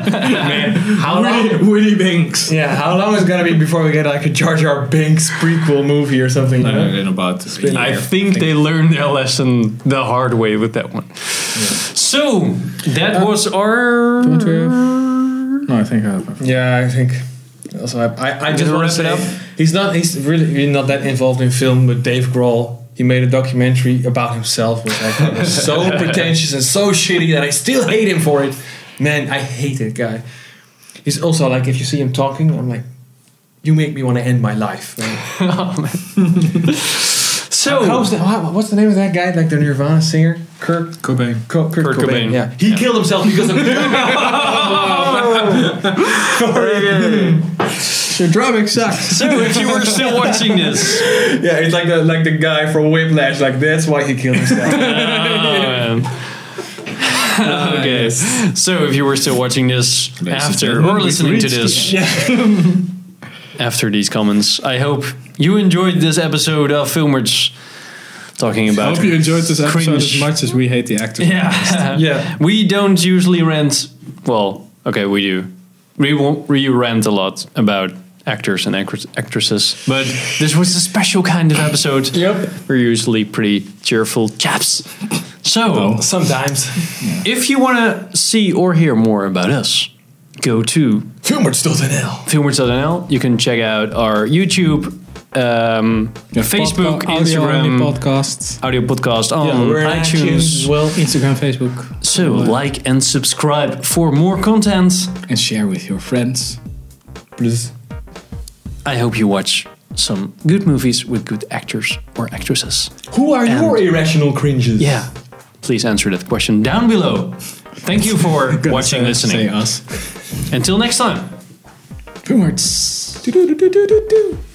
[SPEAKER 4] How long?
[SPEAKER 6] Woody Binks.
[SPEAKER 4] Yeah, how long is it gonna be before we get like a Jar Jar Binks prequel movie or something? you know?
[SPEAKER 6] about
[SPEAKER 1] I think they learned their lesson the hard way with that one. So that was our.
[SPEAKER 6] No, I think I have.
[SPEAKER 4] Yeah, I think. Also, I, I, I
[SPEAKER 1] Just
[SPEAKER 4] just want
[SPEAKER 1] wrap
[SPEAKER 4] to
[SPEAKER 1] it
[SPEAKER 4] say
[SPEAKER 1] up.
[SPEAKER 4] he's not he's really, really not that involved in film, but Dave Grohl. He made a documentary about himself, which I thought was so pretentious and so shitty that I still hate him for it. Man, I hate that guy. He's also like, if you see him talking, I'm like, you make me want to end my life. man."
[SPEAKER 1] Oh, So
[SPEAKER 4] How's the, how- what's the name of that guy? Like the Nirvana singer, Kirk
[SPEAKER 6] Cobain.
[SPEAKER 4] Co- Kurt,
[SPEAKER 1] Kurt
[SPEAKER 4] Cobain.
[SPEAKER 1] Cobain.
[SPEAKER 4] Yeah, he killed himself because of
[SPEAKER 6] Your drumming sucks.
[SPEAKER 1] so if you were still watching this,
[SPEAKER 4] yeah. It's like the like the guy from Whiplash. Like that's why he killed
[SPEAKER 1] Oh,
[SPEAKER 4] himself.
[SPEAKER 1] Um, okay. So if you were still watching this after or listening to this after these comments, I hope you enjoyed this episode of Filmers talking
[SPEAKER 6] I
[SPEAKER 1] about.
[SPEAKER 6] hope you enjoyed this episode
[SPEAKER 1] Cringe.
[SPEAKER 6] as much as we hate the actor.
[SPEAKER 1] yeah.
[SPEAKER 4] Yeah.
[SPEAKER 1] We don't usually rant. Well, okay, we do. We won't, we rant a lot about actors and actress, actresses. But this was a special kind of episode.
[SPEAKER 4] Yep.
[SPEAKER 1] We're usually pretty cheerful chaps. So,
[SPEAKER 4] Sometimes.
[SPEAKER 1] if you want to see or hear more about us, go to
[SPEAKER 4] Filmwords.nl.
[SPEAKER 1] filmwords.nl. You can check out our YouTube, um, Facebook,
[SPEAKER 2] Podca- audio only
[SPEAKER 1] Instagram,
[SPEAKER 2] podcasts.
[SPEAKER 1] audio podcast on iTunes.
[SPEAKER 4] Well,
[SPEAKER 2] Instagram, Facebook,
[SPEAKER 1] So, like and subscribe for more content.
[SPEAKER 2] and share with your friends.
[SPEAKER 4] please.
[SPEAKER 1] I hope you watch some good movies with good actors or actresses.
[SPEAKER 4] Who are your irrational cringes?
[SPEAKER 1] Yeah. Please answer that question down below. Thank you for watching,
[SPEAKER 2] Say
[SPEAKER 1] listening.
[SPEAKER 2] us.
[SPEAKER 1] Until next time.
[SPEAKER 2] Boomers.
[SPEAKER 4] Do, do, do, do, do, do.